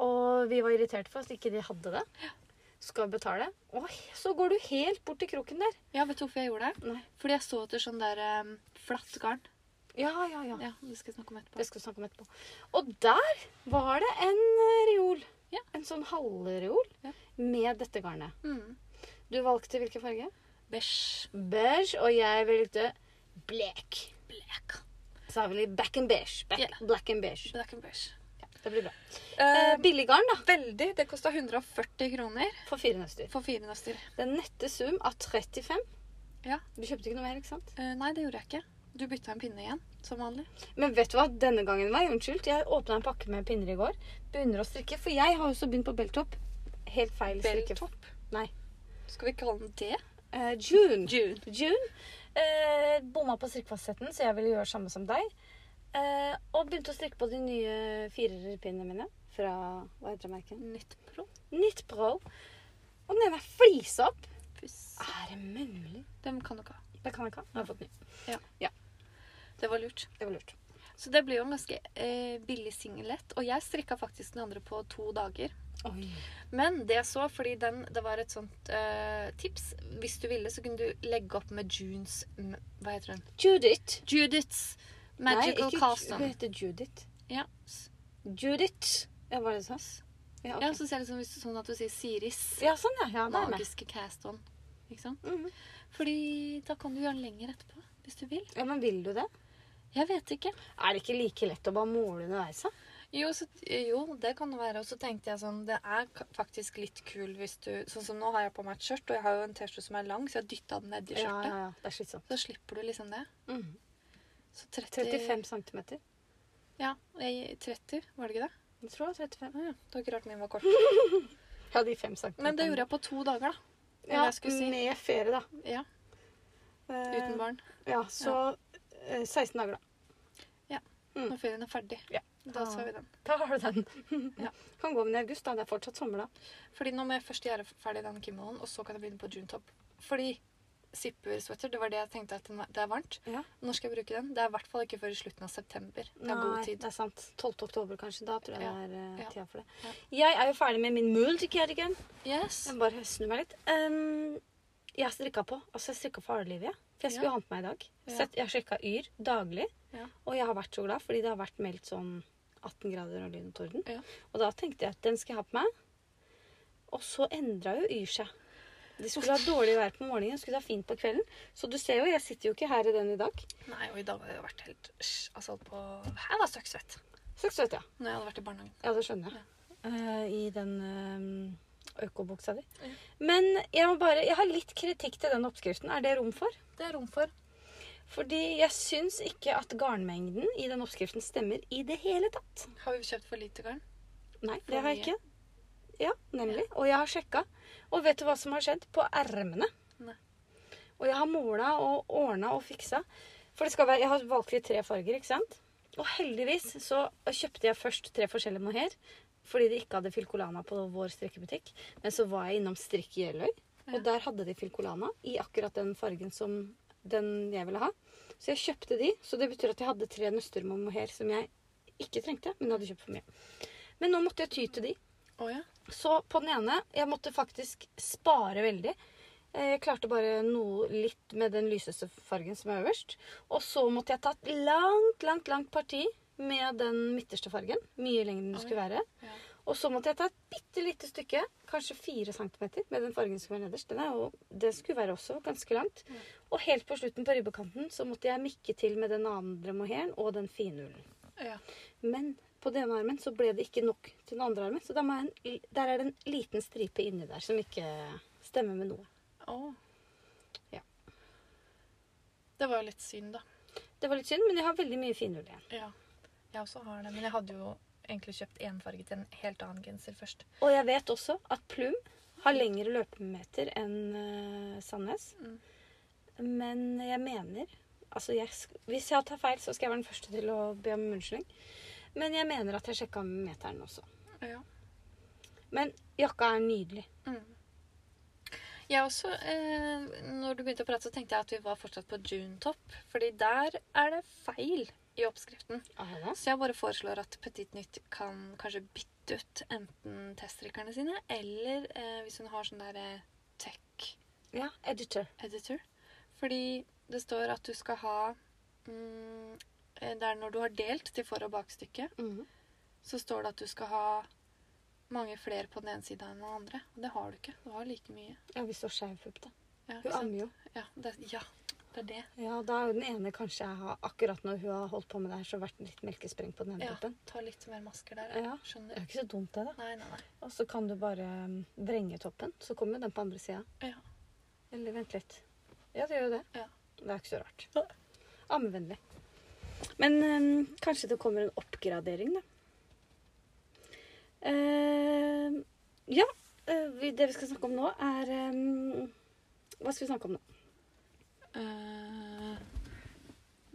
S1: Og vi var irritert for at ikke de hadde det. Skal betale. Oi, så går du helt bort til kroken der.
S2: Ja, vet du hvorfor jeg gjorde det?
S1: Nei.
S2: Fordi jeg så etter sånn der um, flatt garn.
S1: Ja, ja, ja.
S2: Ja, det skal jeg snakke om etterpå.
S1: Det skal vi snakke om etterpå. Og der var det en eh, reol.
S2: Ja.
S1: En sånn halvreol
S2: Ja.
S1: med dette garnet.
S2: Mm.
S1: Du valgte hvilken farge?
S2: Beige.
S1: Beige, og jeg valgte blek.
S2: Black.
S1: Så har vi litt back and beige. Back,
S2: Ja.
S1: Black and beige.
S2: Black and beige.
S1: Det blir bra. Eh,
S2: Eh,
S1: Billiggarn, da.
S2: veldig. Det kosta 140 kroner
S1: For fire nøster.
S2: for fire nøster.
S1: Den nette sum av 35.
S2: Ja.
S1: Du kjøpte ikke noe mer, ikke sant?
S2: Eh, nei, det gjorde jeg ikke. Du bytta en pinne igjen, som vanlig.
S1: Men vet du hva? Denne gangen var jeg unnskyldt. Jeg åpna en pakke med pinner i går. Begynner å strikke. For jeg har jo også begynt på belttopp. Helt feil strikke.
S2: Belltopp.
S1: Nei.
S2: Skal vi kalle den det?
S1: Eh, June.
S2: June.
S1: June. Eh, bomma på strikkefastheten, så jeg ville gjøre samme som deg. Eh, og begynte å strikke på de nye firerpinnene mine fra hva heter det merket?
S2: Nytt pro.
S1: Knit Pro. Og den ene er flisa opp.
S2: Puss.
S1: Er det mulig?
S2: Dem kan du ikke ha.
S1: Det kan jeg ikke ha. Jeg har fått ny.
S2: Det var lurt.
S1: Det var lurt.
S2: Så det blir jo en ganske eh, billig singlet. Og jeg strikka faktisk den andre på to dager.
S1: Oi.
S2: Men det jeg så, fordi den, det var et sånt eh, tips Hvis du ville, så kunne du legge opp med Junes m- Hva heter hun?
S1: Judith.
S2: Judiths Magical
S1: Nei, ikke,
S2: Cast
S1: Hun
S2: On.
S1: heter Judith.
S2: Ja. s-
S1: Judith. Ja, var det sånn? Ja, ok.
S2: ja, så ser det ut som hvis- sånn at du sier Siris.
S1: ja sånn, ja. ja det er med.
S2: Magiske Cast On. Ikke sant?
S1: Mhm.
S2: Fordi da kan du gjøre den lenger etterpå. Hvis du vil.
S1: Ja, Men vil du det?
S2: Jeg vet ikke.
S1: Er det ikke like lett å bare måle underveis? da?
S2: Jo, så, jo, det kan det være. Og så tenkte jeg sånn Det er ka- faktisk litt kul hvis du Sånn som nå har jeg på meg et skjørt, og jeg har jo en T-skjorte som er lang, så jeg dytta den nedi
S1: Ja,
S2: skjørtet.
S1: ja, ja. Det er slitsomt.
S2: Så slipper du liksom det.
S1: Mhm.
S2: Så 30,
S1: 35 cm.
S2: Ja, og jeg 30, var det ikke det?
S1: Jeg tror det var 35.
S2: Ja, ja. Det var ikke rart min var kort.
S1: Ja, de fem centimeterne.
S2: Men det gjorde jeg på to dager, da. var
S1: Ja,
S2: det jeg skulle si.
S1: med ferie, da.
S2: Ja,
S1: Eh,
S2: Uten barn.
S1: Ja, så eh, 16 dager, da.
S2: Når ferien er ferdig.
S1: Ja. Ah.
S2: Da skal vi den.
S1: Da har du den.
S2: Ja.
S1: Kan gå med den i august, da. Det er fortsatt sommer, da.
S2: Fordi nå må jeg først gjøre ferdig den kimonoen, og så kan jeg begynne på junetop. Fordi zipper-sweater, det var det jeg tenkte at den var- det er varmt.
S1: Ja.
S2: Når skal jeg bruke den? Det er i hvert fall ikke før i slutten av september. Det er god tid.
S1: det er sant. 12. oktober, kanskje. Da tror jeg
S2: Ja.
S1: det er eh,
S2: Ja.
S1: tida for det. Jeg er jo ferdig med min multicardigan.
S2: Yes.
S1: Jeg må bare snu meg litt. Um, jeg strikka på. Altså, jeg strikka for harde livet, jeg. For jeg skulle
S2: Ja.
S1: ha den på meg i dag.
S2: Ja.
S1: Sett, jeg sjekka Yr daglig,
S2: Ja.
S1: og jeg har vært så glad fordi det har vært meldt sånn 18 grader og lyn og torden.
S2: Ja.
S1: Og da tenkte jeg at den skal jeg ha på meg. Og så endra jo Yr seg. De skulle ha dårlig vær på morgenen, skulle ha fint på kvelden. Så du ser jo, jeg sitter jo ikke her i den i dag.
S2: Nei, og i dag har jeg vært helt sj, Altså på Jeg var støkk svett
S1: Søk søt, ja.
S2: når jeg hadde vært i barnehagen.
S1: Ja, det skjønner jeg. Eh, I den eh, økobuksa di.
S2: Ja.
S1: Men jeg må bare Jeg har litt kritikk til den oppskriften. Er det rom for?
S2: Det er rom for.
S1: Fordi jeg syns ikke at garnmengden i den oppskriften stemmer i det hele tatt.
S2: Har vi kjøpt for lite garn?
S1: Nei,
S2: For
S1: det har jeg
S2: mye.
S1: ikke. Ja, nemlig. Og jeg har sjekka. Og vet du hva som har skjedd? På ermene.
S2: Nei.
S1: Og jeg har måla og ordna og fiksa. For det skal være, jeg har valgt ut tre farger, ikke sant? Og heldigvis så kjøpte jeg først tre forskjellige mohair. Fordi de ikke hadde Filcolana på vår strikkebutikk. Men så var jeg innom Strikk i Jeløy,
S2: Ja.
S1: og der hadde de Filcolana i akkurat den fargen som den jeg ville ha. Så jeg kjøpte de. Så det betyr at jeg hadde tre nøster med mohair som jeg ikke trengte, men hadde kjøpt for mye. Men nå måtte jeg ty til de.
S2: Å ja.
S1: Så på den ene Jeg måtte faktisk spare veldig. Eh, Jeg klarte bare noe litt med den lyseste fargen som er øverst. Og så måtte jeg tatt langt, langt, langt parti med den midterste fargen. Mye lenger enn
S2: Oi.
S1: den skulle være.
S2: Ja.
S1: Og så måtte jeg ta et bitte lite stykke, kanskje fire centimeter, med den fargen som var nederst. Den er jo, det skulle være også ganske langt.
S2: Ja.
S1: Og helt på slutten på ribbekanten så måtte jeg mikke til med den andre mohairen og den finullen.
S2: ja.
S1: Men på den ene armen så ble det ikke nok til den andre armen. Så da må jeg en, der er det en liten stripe inni der som ikke stemmer med noe.
S2: Å.
S1: Ja.
S2: Det var jo litt synd, da.
S1: Det var litt synd, men jeg har veldig mye finhull igjen.
S2: Ja. Jeg også har det. Men jeg hadde jo egentlig kjøpt én farge til en helt annen genser først.
S1: Og jeg vet også at Plum har lengre løpemeter enn eh, Sandnes.
S2: Mm.
S1: Men jeg mener Altså, jeg, sk- hvis jeg tar feil, så skal jeg være den første til å be om unnskyldning. Men jeg mener at jeg sjekka meteren også.
S2: Ja.
S1: Men jakka er nydelig.
S2: Mm. Jeg også, eh, når du begynte å prate, så tenkte jeg at vi var fortsatt på junetop. Fordi der er det feil i oppskriften. Så jeg bare foreslår at Petit Nytt kan kanskje bytte ut enten teststrikkerne sine, eller eh, hvis hun har sånn der eh, tech-editor.
S1: Ja, editor.
S2: Fordi det står at du skal ha mm, eh, Det er når du har delt til for- og bakstykke,
S1: Mhm.
S2: så står det at du skal ha mange flere på den ene sida enn den andre. Og det har du ikke. Du har like mye.
S1: Ja, vi står skeiv pupp, da.
S2: Ja, ikke
S1: Hun
S2: sant?
S1: ammer jo.
S2: Ja, det, ja, det er det.
S1: Ja, da er jo den ene kanskje jeg har akkurat når hun har holdt på med det her, så vært litt melkespreng på den ene
S2: Ja,
S1: puppen.
S2: ta litt mer masker der.
S1: Ja. Det er
S2: Skjønner.
S1: jo ikke så dumt, det, da.
S2: Nei, nei, nei.
S1: Og så kan du bare mm, vrenge toppen, så kommer jo den på andre sida.
S2: Ja.
S1: Eller vent litt. Ja, det gjør jo det.
S2: Ja.
S1: Det er ikke så rart. Ammevennlig. Men mm, kanskje det kommer en oppgradering, da. Eh, ja, eh, vi- det vi skal snakke om nå, er eh, Hva skal vi snakke om nå?
S2: Eh,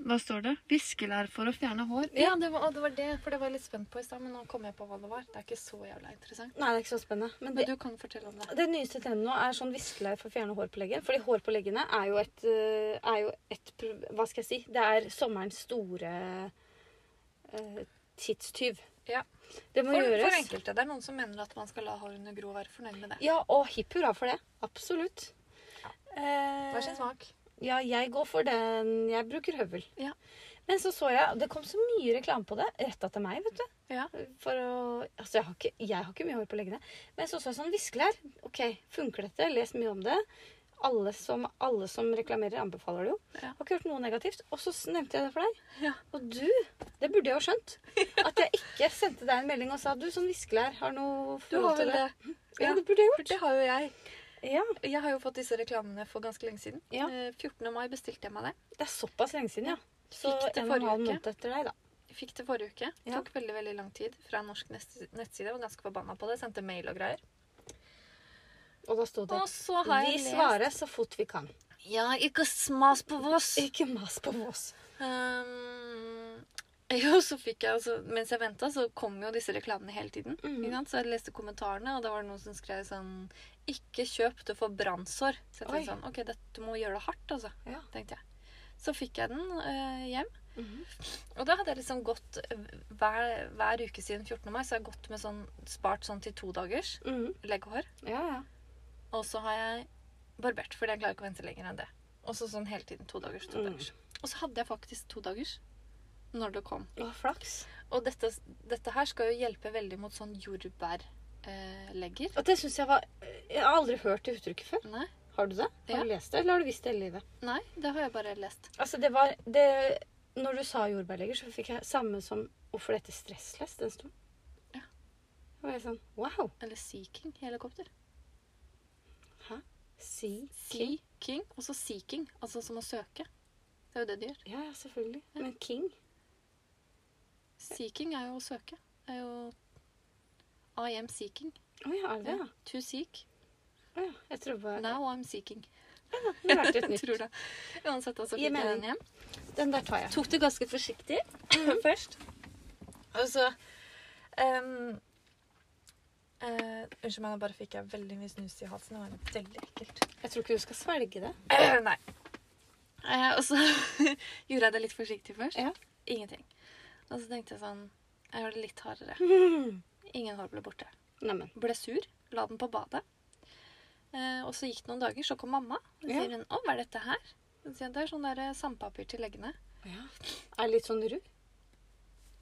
S2: hva står det? Viskelær for å fjerne hår.
S1: Ja.
S2: Ja, det var, å, det var det, for det var jeg litt spent på i stad, men nå kom jeg på hva det var. Det er ikke så jævla interessant.
S1: Nei, det er ikke så spennende. Men det
S2: Men du kan fortelle om det.
S1: Det nyeste trenden nå er sånn viskelær for å fjerne hår på leggen. Fordi hår på leggene er jo et, eh, er jo et pro- Hva skal jeg si? Det er sommerens store eh, tidstyv.
S2: Ja.
S1: Det må
S2: For,
S1: gjøres.
S2: for enkelte. Det er noen som mener at man skal la hårene gro og være fornøyd med det.
S1: Ja, og hipp hurra for det. Absolutt. Eh,
S2: Hver sin smak.
S1: Ja, jeg går for den. Jeg bruker høvel.
S2: Ja.
S1: Men så så jeg Det kom så mye reklame på det. Retta til meg, vet du.
S2: Ja.
S1: For å, altså jeg, har ikke, jeg har ikke mye hår på leggene. Men så så jeg sånn viskelær. Ok, funker dette? Les mye om det. Alle som, alle som reklamerer, anbefaler det jo.
S2: Ja.
S1: Har ikke hørt noe negativt. Og så s- nevnte jeg det for deg.
S2: Ja.
S1: Og du, det burde jeg jo ha skjønt. At jeg ikke sendte deg en melding og sa du, sånn viskelær, har noe
S2: Du har
S1: forhold
S2: vel
S1: til det?
S2: det.
S1: Ja,
S2: ja.
S1: det burde jeg
S2: For
S1: gjort.
S2: det har jo jeg.
S1: Ja,
S2: Jeg har jo fått disse reklamene for ganske lenge siden.
S1: Ja.
S2: Eh, 14. mai bestilte jeg meg det.
S1: Det er såpass lenge siden, ja. Så
S2: Fikk det
S1: en og en
S2: forrige
S1: halv
S2: uke.
S1: måned etter deg, da.
S2: fikk til forrige uke.
S1: Ja.
S2: Tok veldig veldig lang tid fra en norsk nest- nettside. Var ganske forbanna på det. Sendte mail og greier.
S1: Og da sto det
S2: Og så har
S1: Vi
S2: jeg lest
S1: svarer så fort vi kan.
S2: Ja, ikke smas på Voss!
S1: Ikke mas på oss.
S2: Um, jo, så fikk jeg altså, Mens jeg venta, så kom jo disse reklamene hele tiden.
S1: Mhm.
S2: Ikke sant? Så jeg leste kommentarene, og da var det noen som skrev sånn Ikke kjøp, du får brannsår. Så jeg
S1: Oi.
S2: tenkte sånn OK, dette må gjøre det hardt, altså.
S1: Ja.
S2: Tenkte jeg. Så fikk jeg den eh, hjem.
S1: Mm-hmm.
S2: Og da hadde jeg liksom gått eh, hver, hver uke siden 14. mai, så har jeg gått med sånn spart sånn til to dagers
S1: Mhm.
S2: leggehår.
S1: Ja, ja.
S2: Og så har jeg barbert, fordi jeg klarer ikke å vente lenger enn det. Og så sånn hele tiden. To dagers, to
S1: Mm.
S2: dagers. Og så hadde jeg faktisk to dagers når det kom.
S1: Å, flaks.
S2: Og dette, dette her skal jo hjelpe veldig mot sånn eh, jordbærlegger.
S1: Og det syns jeg var Jeg har aldri hørt det uttrykket før.
S2: Nei,
S1: Har du det? Har
S2: Ja.
S1: du lest det, eller har du visst det hele livet?
S2: nei, det har jeg bare lest.
S1: Altså, det var det, Når du sa jordbærleger, så fikk jeg samme som Hvorfor dette stressless den stund.
S2: Ja.
S1: Da var jeg sånn Wow.
S2: Eller Sea King helikopter.
S1: Si.
S2: Sea King, og så Sea King, altså som å søke. Det er jo det de gjør.
S1: Ja, ja, selvfølgelig. Men king
S2: Sea King er jo å søke. Det er jo I am seeking.
S1: Å ja, er det det?
S2: Ja. To seek.
S1: Ja. Å ja. Jeg trodde bare
S2: Now I'm seeking.
S1: Det har vært et
S2: Jeg tror
S1: nytt.
S2: det. Uansett, altså,
S1: Gir
S2: fikk jeg
S1: mening.
S2: den hjem.
S1: Den der tar jeg.
S2: tok det ganske forsiktig først. Mhm. Og så ehm, eh, Unnskyld meg, nå bare fikk jeg veldig mye snus i halsen. Det var veldig ekkelt.
S1: Jeg tror ikke du skal svelge det.
S2: Nei. Eh, og så gjorde jeg det litt forsiktig først.
S1: Ja.
S2: Ingenting. Og så tenkte jeg sånn Jeg gjør det litt hardere. Ingen hår ble borte.
S1: Neimen.
S2: Ble sur. La den på badet. Eh, og så gikk det noen dager, så kom mamma. Og så
S1: Ja.
S2: sier hun 'Å, hva er dette her?' Så sier jeg, det er sånn der eh, sandpapir til leggene.
S1: Ja. Er litt sånn ru.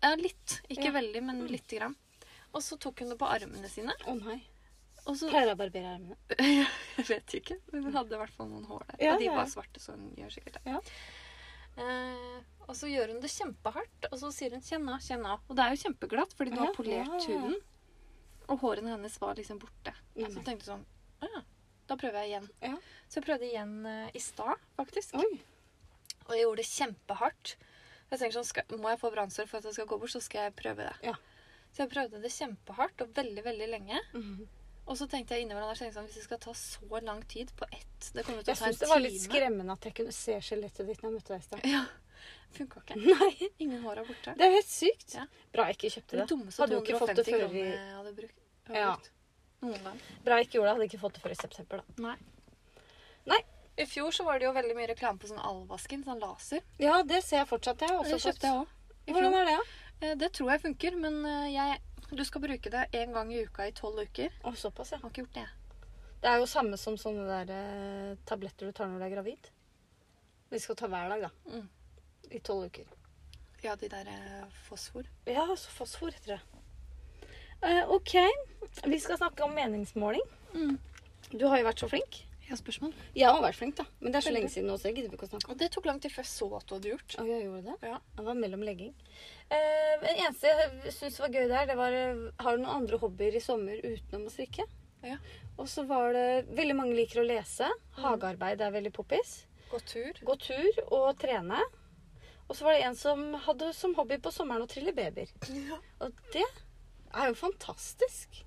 S2: Ja, litt. Ikke
S1: Ja. Mm.
S2: veldig, men lite grann. Og så tok hun det på armene sine.
S1: Å nei.
S2: Og så
S1: Pleier jeg å barbere armene?
S2: Jeg vet ikke, men hun hadde i hvert fall noen hår der.
S1: Ja,
S2: og de
S1: ja, ja.
S2: var svarte, så hun gjør sikkert det.
S1: Ja.
S2: Eh, og så gjør hun det kjempehardt, og så sier hun 'kjenn av', 'kjenn av'. Og det er jo kjempeglatt, fordi du
S1: Ja,
S2: har polert
S1: ja.
S2: huden. Og hårene hennes var liksom borte.
S1: Nei,
S2: Så
S1: nei.
S2: jeg tenkte sånn Å ja, da prøver jeg igjen.
S1: Ja.
S2: Så jeg prøvde igjen eh, i stad, faktisk.
S1: Oi.
S2: Og jeg gjorde det kjempehardt. Jeg tenker sånn, skal, Må jeg få brannsår for at det skal gå bort, så skal jeg prøve det.
S1: Ja.
S2: Så jeg prøvde det kjempehardt og veldig veldig lenge.
S1: Mhm.
S2: Og så tenkte jeg innimellom der, så tenkte jeg sånn, hvis det skal ta så lang tid på ett Det kommer jo til
S1: Jeg
S2: å ta en
S1: syns
S2: time.
S1: det var litt skremmende at jeg kunne se skjelettet ditt når jeg møtte deg i stad.
S2: Ja, Funka ikke.
S1: Nei.
S2: Ingen hår er borte.
S1: Det er helt sykt.
S2: Ja.
S1: Bra jeg ikke
S2: Det
S1: kjøpte det.
S2: dummeste
S1: Hadde jo ikke fått
S2: 250
S1: det
S2: kroner
S1: før vi-
S2: jeg hadde brukt. Hadde
S1: Ja.
S2: brukt. Noen gang.
S1: Bra jeg ikke gjorde det. Hadde jeg ikke fått det før i september, da.
S2: Nei.
S1: Nei.
S2: I fjor så var det jo veldig mye reklame på sånn Alvasken, sånn laser.
S1: Ja, det ser jeg fortsatt. Jeg har også
S2: Det kjøpte jeg
S1: fått.
S2: òg. I fjor.
S1: Hvordan er det, da?
S2: Eh, Det tror jeg funker, men eh, jeg, du skal bruke det én gang i uka i tolv uker.
S1: Å, såpass, ja.
S2: Jeg har ikke gjort det. jeg.
S1: Det er jo samme som sånne der eh, tabletter du tar når du er gravid. De skal ta hver dag, da.
S2: Mm.
S1: I tolv uker.
S2: Ja, de der eh, fosfor.
S1: Ja, så fosfor heter det. Eh, OK. Vi skal snakke om meningsmåling.
S2: Mm.
S1: Du har jo vært så flink.
S2: Ja, spørsmål.
S1: Jeg har vært flink, da. Men det er så
S2: Veldig.
S1: lenge siden nå, så det gidder vi ikke å snakke om.
S2: Og det tok lang tid før jeg så at du hadde gjort.
S1: Å, jeg gjorde det?
S2: Ja.
S1: Det var mellom legging. Eh, det eneste jeg syntes var gøy der, det var eh, Har du noen andre hobbyer i sommer utenom å strikke?
S2: Ja.
S1: Og så var det Veldig mange liker å lese. Hagearbeid er veldig poppis.
S2: Gå tur.
S1: Gå tur og trene. Og så var det en som hadde som hobby på sommeren å trille babyer.
S2: Ja.
S1: Og det er jo fantastisk.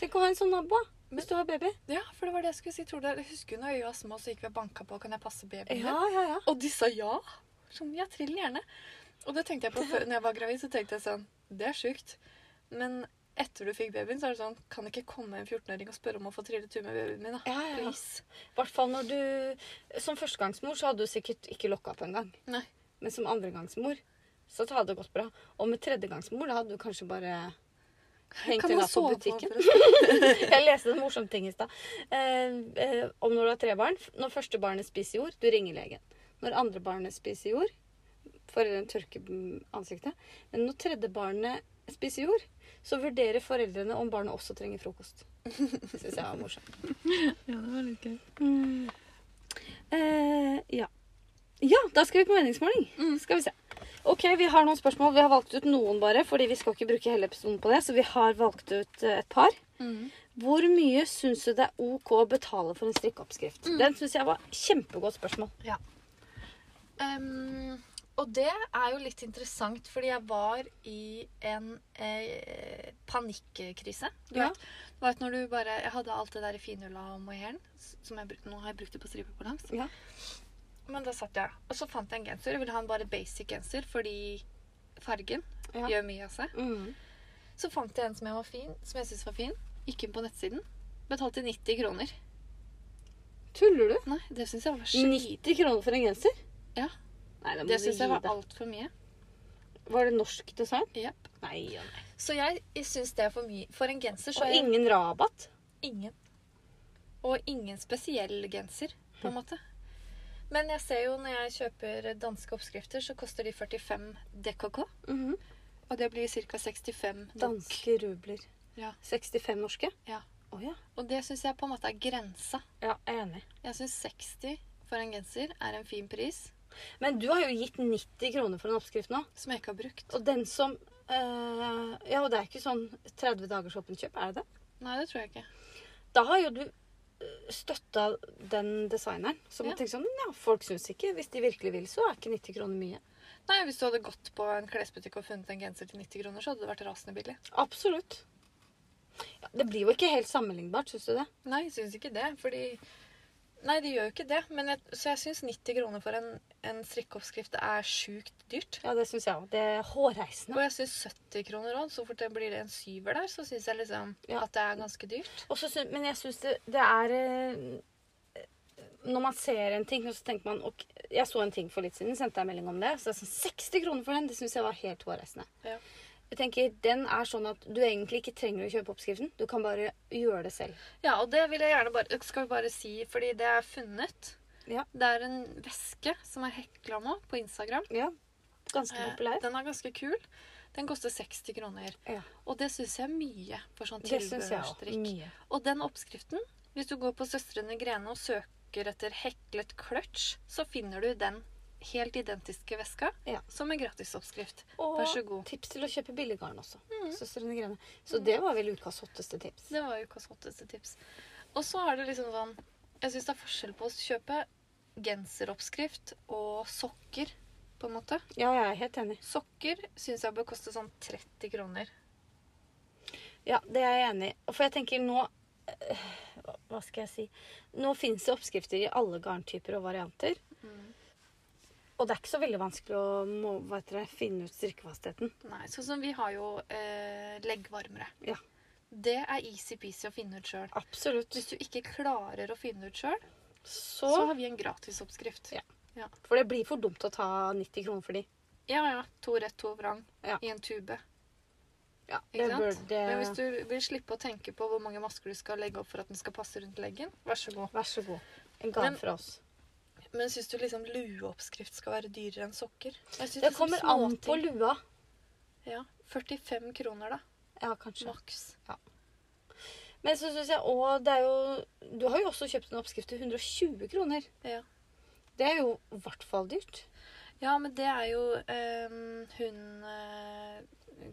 S1: Tenk å ha en sånn nabo hvis du har baby.
S2: for det var det jeg skulle si. Tror du, det- husker du når øya var små, så gikk vi og banka på 'Kan jeg passe babyen din?'
S1: Ja, ja, ja.
S2: Og de sa ja. Sånn, ja, trill gjerne. Og det tenkte jeg på før når jeg var gravid, så tenkte jeg sånn Det er sjukt. Men etter du fikk babyen, så er det sånn Kan ikke komme en 14-åring og spørre om å få trille tur med babyen min, da.
S1: Ja, ja, ja.
S2: Please.
S1: I hvert fall når du Som førstegangsmor så hadde du sikkert ikke lokka på engang.
S2: Nei.
S1: Men som andregangsmor så hadde det gått bra. Og med tredjegangsmor da hadde du kanskje bare hengt
S2: Kan
S1: henne
S2: man
S1: opp på
S2: sove på
S1: butikken.
S2: forresten?
S1: Jeg leste en morsom ting i stad. Eh, eh, om når du har tre barn. Når første barnet spiser jord, du ringer legen. Når andre barnet spiser jord, foreldrene tørker mm, ansiktet. Men når tredje barnet spiser jord, så vurderer foreldrene om barnet også trenger frokost. Det syns jeg var morsomt. Mm.
S2: Ja, det var litt gøy.
S1: Eh, ja. ja, da skal vi på meningsmåling. Skal vi se. Ok, Vi har noen spørsmål. Vi har valgt ut noen, bare, fordi vi skal ikke bruke hele episoden på det. Så vi har valgt ut eh, et par.
S2: Mm.
S1: Hvor mye syns du det er OK å betale for Mm. en strikkeoppskrift? Den syns jeg var kjempegodt spørsmål.
S2: Ehm, Og det er jo litt interessant, fordi jeg var i en eh, panikkrise. Du
S1: Ja.
S2: vet, du vet når du bare Jeg hadde alt det der i finhulla og mohairen. s- som jeg brukte- Nå har jeg brukt det på stripe på langs.
S1: Ja.
S2: Men da satt jeg. Og så fant jeg en genser. Jeg ville ha en bare basic genser fordi fargen
S1: Ja.
S2: gjør mye av seg.
S1: Mm.
S2: Så fant jeg en som jeg, var fin, som jeg syntes var fin. Gikk inn på nettsiden. Betalte 90 kroner.
S1: Tuller du?
S2: Nei, det syns jeg var slitsomt.
S1: 90 kroner for en genser?
S2: Ja.
S1: Nei, det må
S2: Det
S1: du
S2: syns
S1: gi
S2: jeg var
S1: deg.
S2: altfor mye.
S1: Var det norsk design?
S2: Jep.
S1: Nei, ja, nei.
S2: Så jeg, jeg syns det er for mye. For en genser så
S1: Og
S2: er jeg
S1: ingen rabatt?
S2: ingen. Og ingen spesiell genser, på
S1: Hm.
S2: en måte. Men jeg ser jo når jeg kjøper danske oppskrifter, så koster de 45 DKK.
S1: Mhm.
S2: Og det blir ca. 65 dansk.
S1: Danske rubler.
S2: Ja.
S1: 65 norske?
S2: Ja.
S1: Å ja.
S2: Og det syns jeg på en måte er grensa.
S1: Ja, jeg er enig.
S2: Jeg syns 60 for en genser er en fin pris,
S1: Men du har jo gitt 90 kroner for en oppskrift nå.
S2: som jeg ikke har brukt.
S1: Og den som eh, Ja, og det er ikke sånn 30 dagers åpent kjøp, er det det?
S2: Nei, det tror jeg ikke.
S1: Da har jo du eh, støtta den designeren. Som
S2: Ja.
S1: tenker sånn Ja, folk syns ikke. Hvis de virkelig vil, så er ikke 90 kroner mye.
S2: Nei, Hvis du hadde gått på en klesbutikk og funnet en genser til 90 kroner, så hadde det vært rasende billig.
S1: Absolutt. Ja, det blir jo ikke helt sammenlignbart, syns du det?
S2: Nei, jeg syns ikke det. Fordi Nei, de gjør jo ikke det. Men jeg, så jeg syns 90 kroner for en, en strikkeoppskrift er sjukt dyrt.
S1: Ja, det syns jeg òg. Det er hårreisende.
S2: Og jeg syns 70 kroner òg, så fort det blir en syver der, så syns jeg liksom
S1: Ja.
S2: at det er ganske dyrt.
S1: Og så syn- men jeg syns det, det er eh, Når man ser en ting, og så tenker man ok, Jeg så en ting for litt siden, sendte jeg melding om det. Så det er sånn 60 kroner for den. Det syns jeg var helt hårreisende.
S2: Ja.
S1: Jeg tenker, Den er sånn at du egentlig ikke trenger å kjøpe oppskriften. Du kan bare gjøre det selv.
S2: Ja, og det vil jeg gjerne bare Skal vi bare si, fordi det er funnet.
S1: Ja.
S2: Det er en veske som er hekla nå på Instagram.
S1: Ja. Ganske
S2: Eh,
S1: populær.
S2: Den er ganske kul. Den koster 60 kroner.
S1: Ja.
S2: Og det syns jeg er mye for sånn
S1: Det syns jeg òg.
S2: tilbehørstrikk.
S1: Mye.
S2: Og den oppskriften, hvis du går på Søstrene Grene og søker etter heklet clutch, så finner du den helt identiske veska
S1: Ja.
S2: som en gratisoppskrift.
S1: Og
S2: Vær så god. Mm.
S1: tips til å kjøpe billiggarn også. Søstrene Grene. Så det var vel ukas hotteste tips.
S2: Det var ukas hotteste tips. Og så er det liksom sånn Jeg syns det er forskjell på å kjøpe genseroppskrift og sokker, på en måte.
S1: Ja, jeg er helt enig.
S2: Sokker syns jeg bør koste sånn 30 kroner.
S1: Ja, det er jeg enig i. For jeg tenker nå eh, hva- Hva skal jeg si? Nå fins det oppskrifter i alle garntyper og varianter.
S2: Mm.
S1: Og det er ikke så veldig vanskelig å må, hva heter det, finne ut strikkefastheten.
S2: Nei, sånn som vi har jo eh, leggvarmere.
S1: Ja.
S2: Det er easy-peasy å finne ut sjøl.
S1: Absolutt.
S2: Hvis du ikke klarer å finne ut sjøl, så
S1: Så
S2: har vi en gratisoppskrift.
S1: Ja.
S2: Ja.
S1: For det blir for dumt å ta 90 kroner for de.
S2: ja ja. To rett, to vrang
S1: Ja.
S2: i en tube.
S1: Ja,
S2: Ikke
S1: det
S2: sant?
S1: burde
S2: Men hvis du vil slippe å tenke på hvor mange masker du skal legge opp for at den skal passe rundt leggen, vær så god.
S1: Vær så god. En gave
S2: Men-
S1: fra oss.
S2: Men syns du liksom lueoppskrift skal være dyrere enn sokker? Jeg synes liksom
S1: Det kommer an på lua.
S2: Ja. 45 kroner, da.
S1: Ja, kanskje.
S2: Maks.
S1: Men så syns jeg òg det er jo Du har jo også kjøpt en oppskrift til 120 kroner.
S2: Ja.
S1: Det er jo i hvert fall dyrt.
S2: ja, men det er jo eh, hun eh,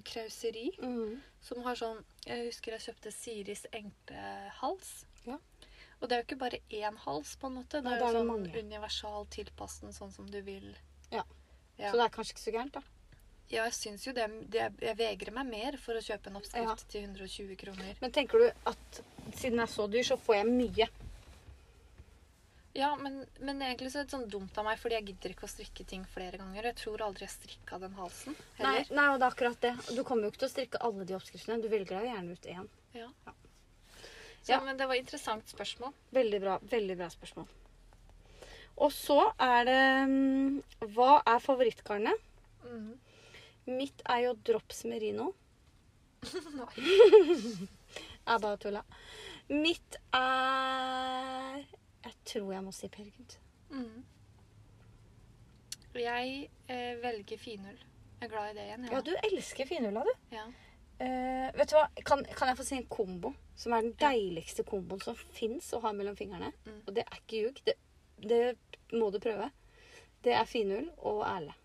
S2: Krauseri
S1: Mm.
S2: som har sånn Jeg husker jeg kjøpte Siris englehals.
S1: Ja.
S2: Og det er jo ikke bare én hals, på en måte. Det
S1: Nei,
S2: er
S1: det
S2: jo
S1: er det
S2: sånn
S1: mange.
S2: universal tilpassen sånn som du vil. Ja.
S1: Så det er kanskje ikke så gærent, da.
S2: Ja, jeg syns jo det, det Jeg vegrer meg mer for å kjøpe en oppskrift til 120 kroner.
S1: Men tenker du at siden jeg er så dyr, så får jeg mye?
S2: Ja, men, men egentlig så er det sånn dumt av meg, fordi jeg gidder ikke å strikke ting flere ganger. og Jeg tror aldri jeg strikka den halsen
S1: Nei,
S2: heller.
S1: nei, og det er akkurat det. Du kommer jo ikke til å strikke alle de oppskriftene. Du velger deg jo gjerne ut én.
S2: Ja.
S1: Ja.
S2: Så,
S1: Ja.
S2: Men det var et interessant spørsmål.
S1: Veldig bra, veldig bra spørsmål. Og så er det mm, Hva er favorittgarnet? Mhm. Mitt er jo Drops Merino.
S2: Nei.
S1: Jeg bare tulla. Mitt er Jeg tror jeg må si Peer Gynt.
S2: Mhm. Jeg eh, velger finull. Jeg er glad i det igjen.
S1: Ja, du elsker finhulla, du.
S2: Ja.
S1: Eh, vet du hva? Kan, kan jeg få si en kombo som er den deiligste komboen som fins å ha mellom fingrene?
S2: Mm.
S1: Og det er ikke ljug. Det, det må du prøve. Det er finull og Erle.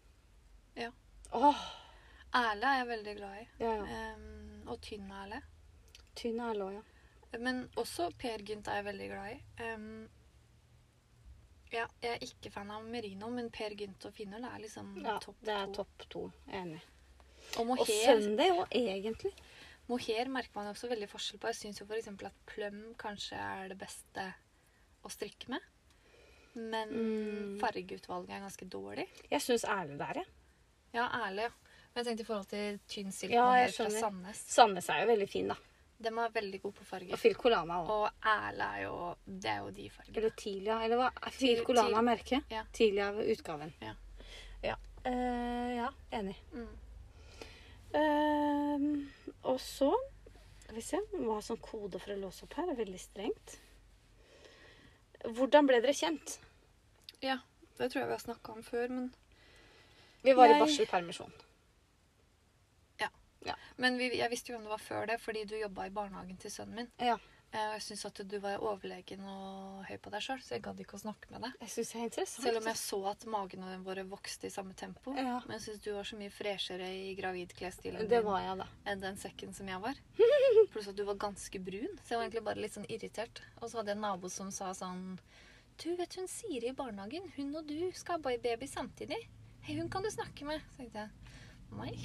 S2: Ja.
S1: Åh,
S2: Erle er jeg veldig glad i.
S1: ja, ja.
S2: Ehm, og tynn erle.
S1: Tynn Erle òg, ja.
S2: Men også Per Gynt er jeg veldig glad i. Ehm, Ja, jeg er ikke fan av merino, men Per Gynt og Finnøl er liksom
S1: Ja,
S2: topp
S1: det er
S2: to.
S1: topp to. Jeg er enig.
S2: Og
S1: Og
S2: mohair,
S1: Sunday òg, egentlig.
S2: mohair merker man også veldig forskjell på. Jeg syns jo f.eks. at pløm kanskje er det beste å strikke med. Men
S1: Mm.
S2: fargeutvalget er ganske dårlig.
S1: Jeg syns Erlend er det.
S2: Ja, ærlig. ja. Men jeg tenkte i forhold til tynn silk
S1: Ja,
S2: mohair
S1: jeg
S2: fra
S1: skjønner.
S2: Sandnes.
S1: Sandnes er jo veldig fin, da.
S2: De er veldig gode på
S1: Og
S2: farger.
S1: Phil Colana òg.
S2: Og Erle er jo Det er jo de fargene.
S1: Eller Tilia. Eller hva? er Phil
S2: Til-
S1: Colana
S2: til-
S1: merket?
S2: ja.
S1: Tilia-utgaven.
S2: Ja.
S1: Ja. Eh, ja, enig.
S2: Mm.
S1: Ehm, og så Skal vi se hva som kode for å låse opp her. er Veldig strengt. Hvordan ble dere kjent?
S2: Ja, det tror jeg vi har snakka om før, men,
S1: Vi var i
S2: Jeg-
S1: barselpermisjon.
S2: men vi, jeg visste jo hvem det var før det, fordi du jobba i barnehagen til sønnen min.
S1: Ja.
S2: Eh, Og jeg syns at du var overlegen og høy på deg sjøl, så jeg gadd ikke å snakke med deg.
S1: Jeg syns det er interessant.
S2: Selv om jeg så at magene våre vokste i samme tempo.
S1: Ja.
S2: Men jeg syns du var så mye freshere i gravidklesstilen
S1: Det
S2: din
S1: var jeg, da.
S2: enn den sekken som jeg var. Pluss at du var ganske brun, så jeg var egentlig bare litt sånn irritert. Og så hadde jeg en nabo som sa sånn Du vet hun Siri i barnehagen, hun og du skal ha boy-baby samtidig. Hei, hun kan du snakke med. Så tenkte jeg nei,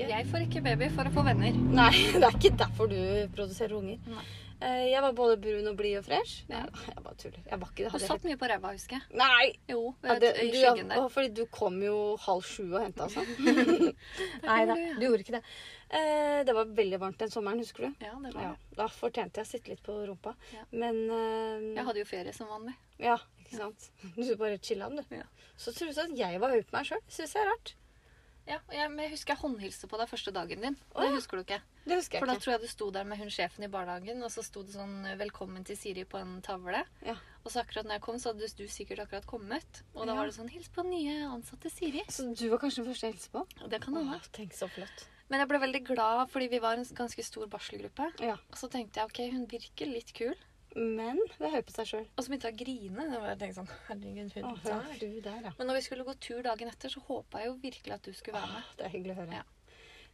S2: jeg får ikke baby for å få venner.
S1: Nei, det er ikke derfor du produserer unger.
S2: Nei.
S1: Eh, Jeg var både brun og blid og fresh.
S2: Ja.
S1: Jeg, jeg bare tuller. Jeg var ikke det.
S2: Du
S1: Hadde jeg
S2: satt mye på ræva, husker jeg.
S1: helt- Nei!
S2: Jo,
S1: Ja,
S2: ved,
S1: det,
S2: i
S1: du,
S2: skyggen der.
S1: ja, fordi du kom jo halv sju og henta oss. da.
S2: Der
S1: Nei da,
S2: kommer du, ja.
S1: du gjorde ikke det. Eh, Det var veldig varmt den sommeren, husker du?
S2: Ja, det var
S1: Ja,
S2: det.
S1: da fortjente jeg å sitte litt på rumpa.
S2: Ja.
S1: Men eh,
S2: Jeg hadde jo ferie som vanlig.
S1: Ja, ikke sant? Du bare chilla den, du.
S2: Ja.
S1: Så tror du at jeg var høy på meg sjøl. Syns jeg er rart.
S2: Ja, og jeg, men jeg husker jeg håndhilste på deg første dagen din.
S1: Å,
S2: Det
S1: ja.
S2: husker du ikke.
S1: Det husker jeg
S2: For da
S1: ikke.
S2: tror jeg du sto der med hun sjefen i barnehagen, og så sto det sånn 'Velkommen til Siri' på en tavle.
S1: Ja.
S2: Og så akkurat når jeg kom, så hadde du sikkert akkurat kommet. Og da
S1: Ja.
S2: var det sånn 'Hils på nye ansatte Siri'.
S1: Så du var kanskje den første jeg hilste på?
S2: Og det kan hende.
S1: Åh, tenk så flott.
S2: Men jeg ble veldig glad, fordi vi var en ganske stor barselgruppe.
S1: Ja.
S2: Og så tenkte jeg ok, hun virker litt kul.
S1: Men det er høy på seg sjøl.
S2: Og så begynte jeg å grine. Og jeg tenkte sånn, herregud, hun der.
S1: Du der, ja.
S2: Men når vi skulle gå tur dagen etter, så håpa jeg jo virkelig at du skulle være med.
S1: Åh, Det er hyggelig å høre.
S2: Ja.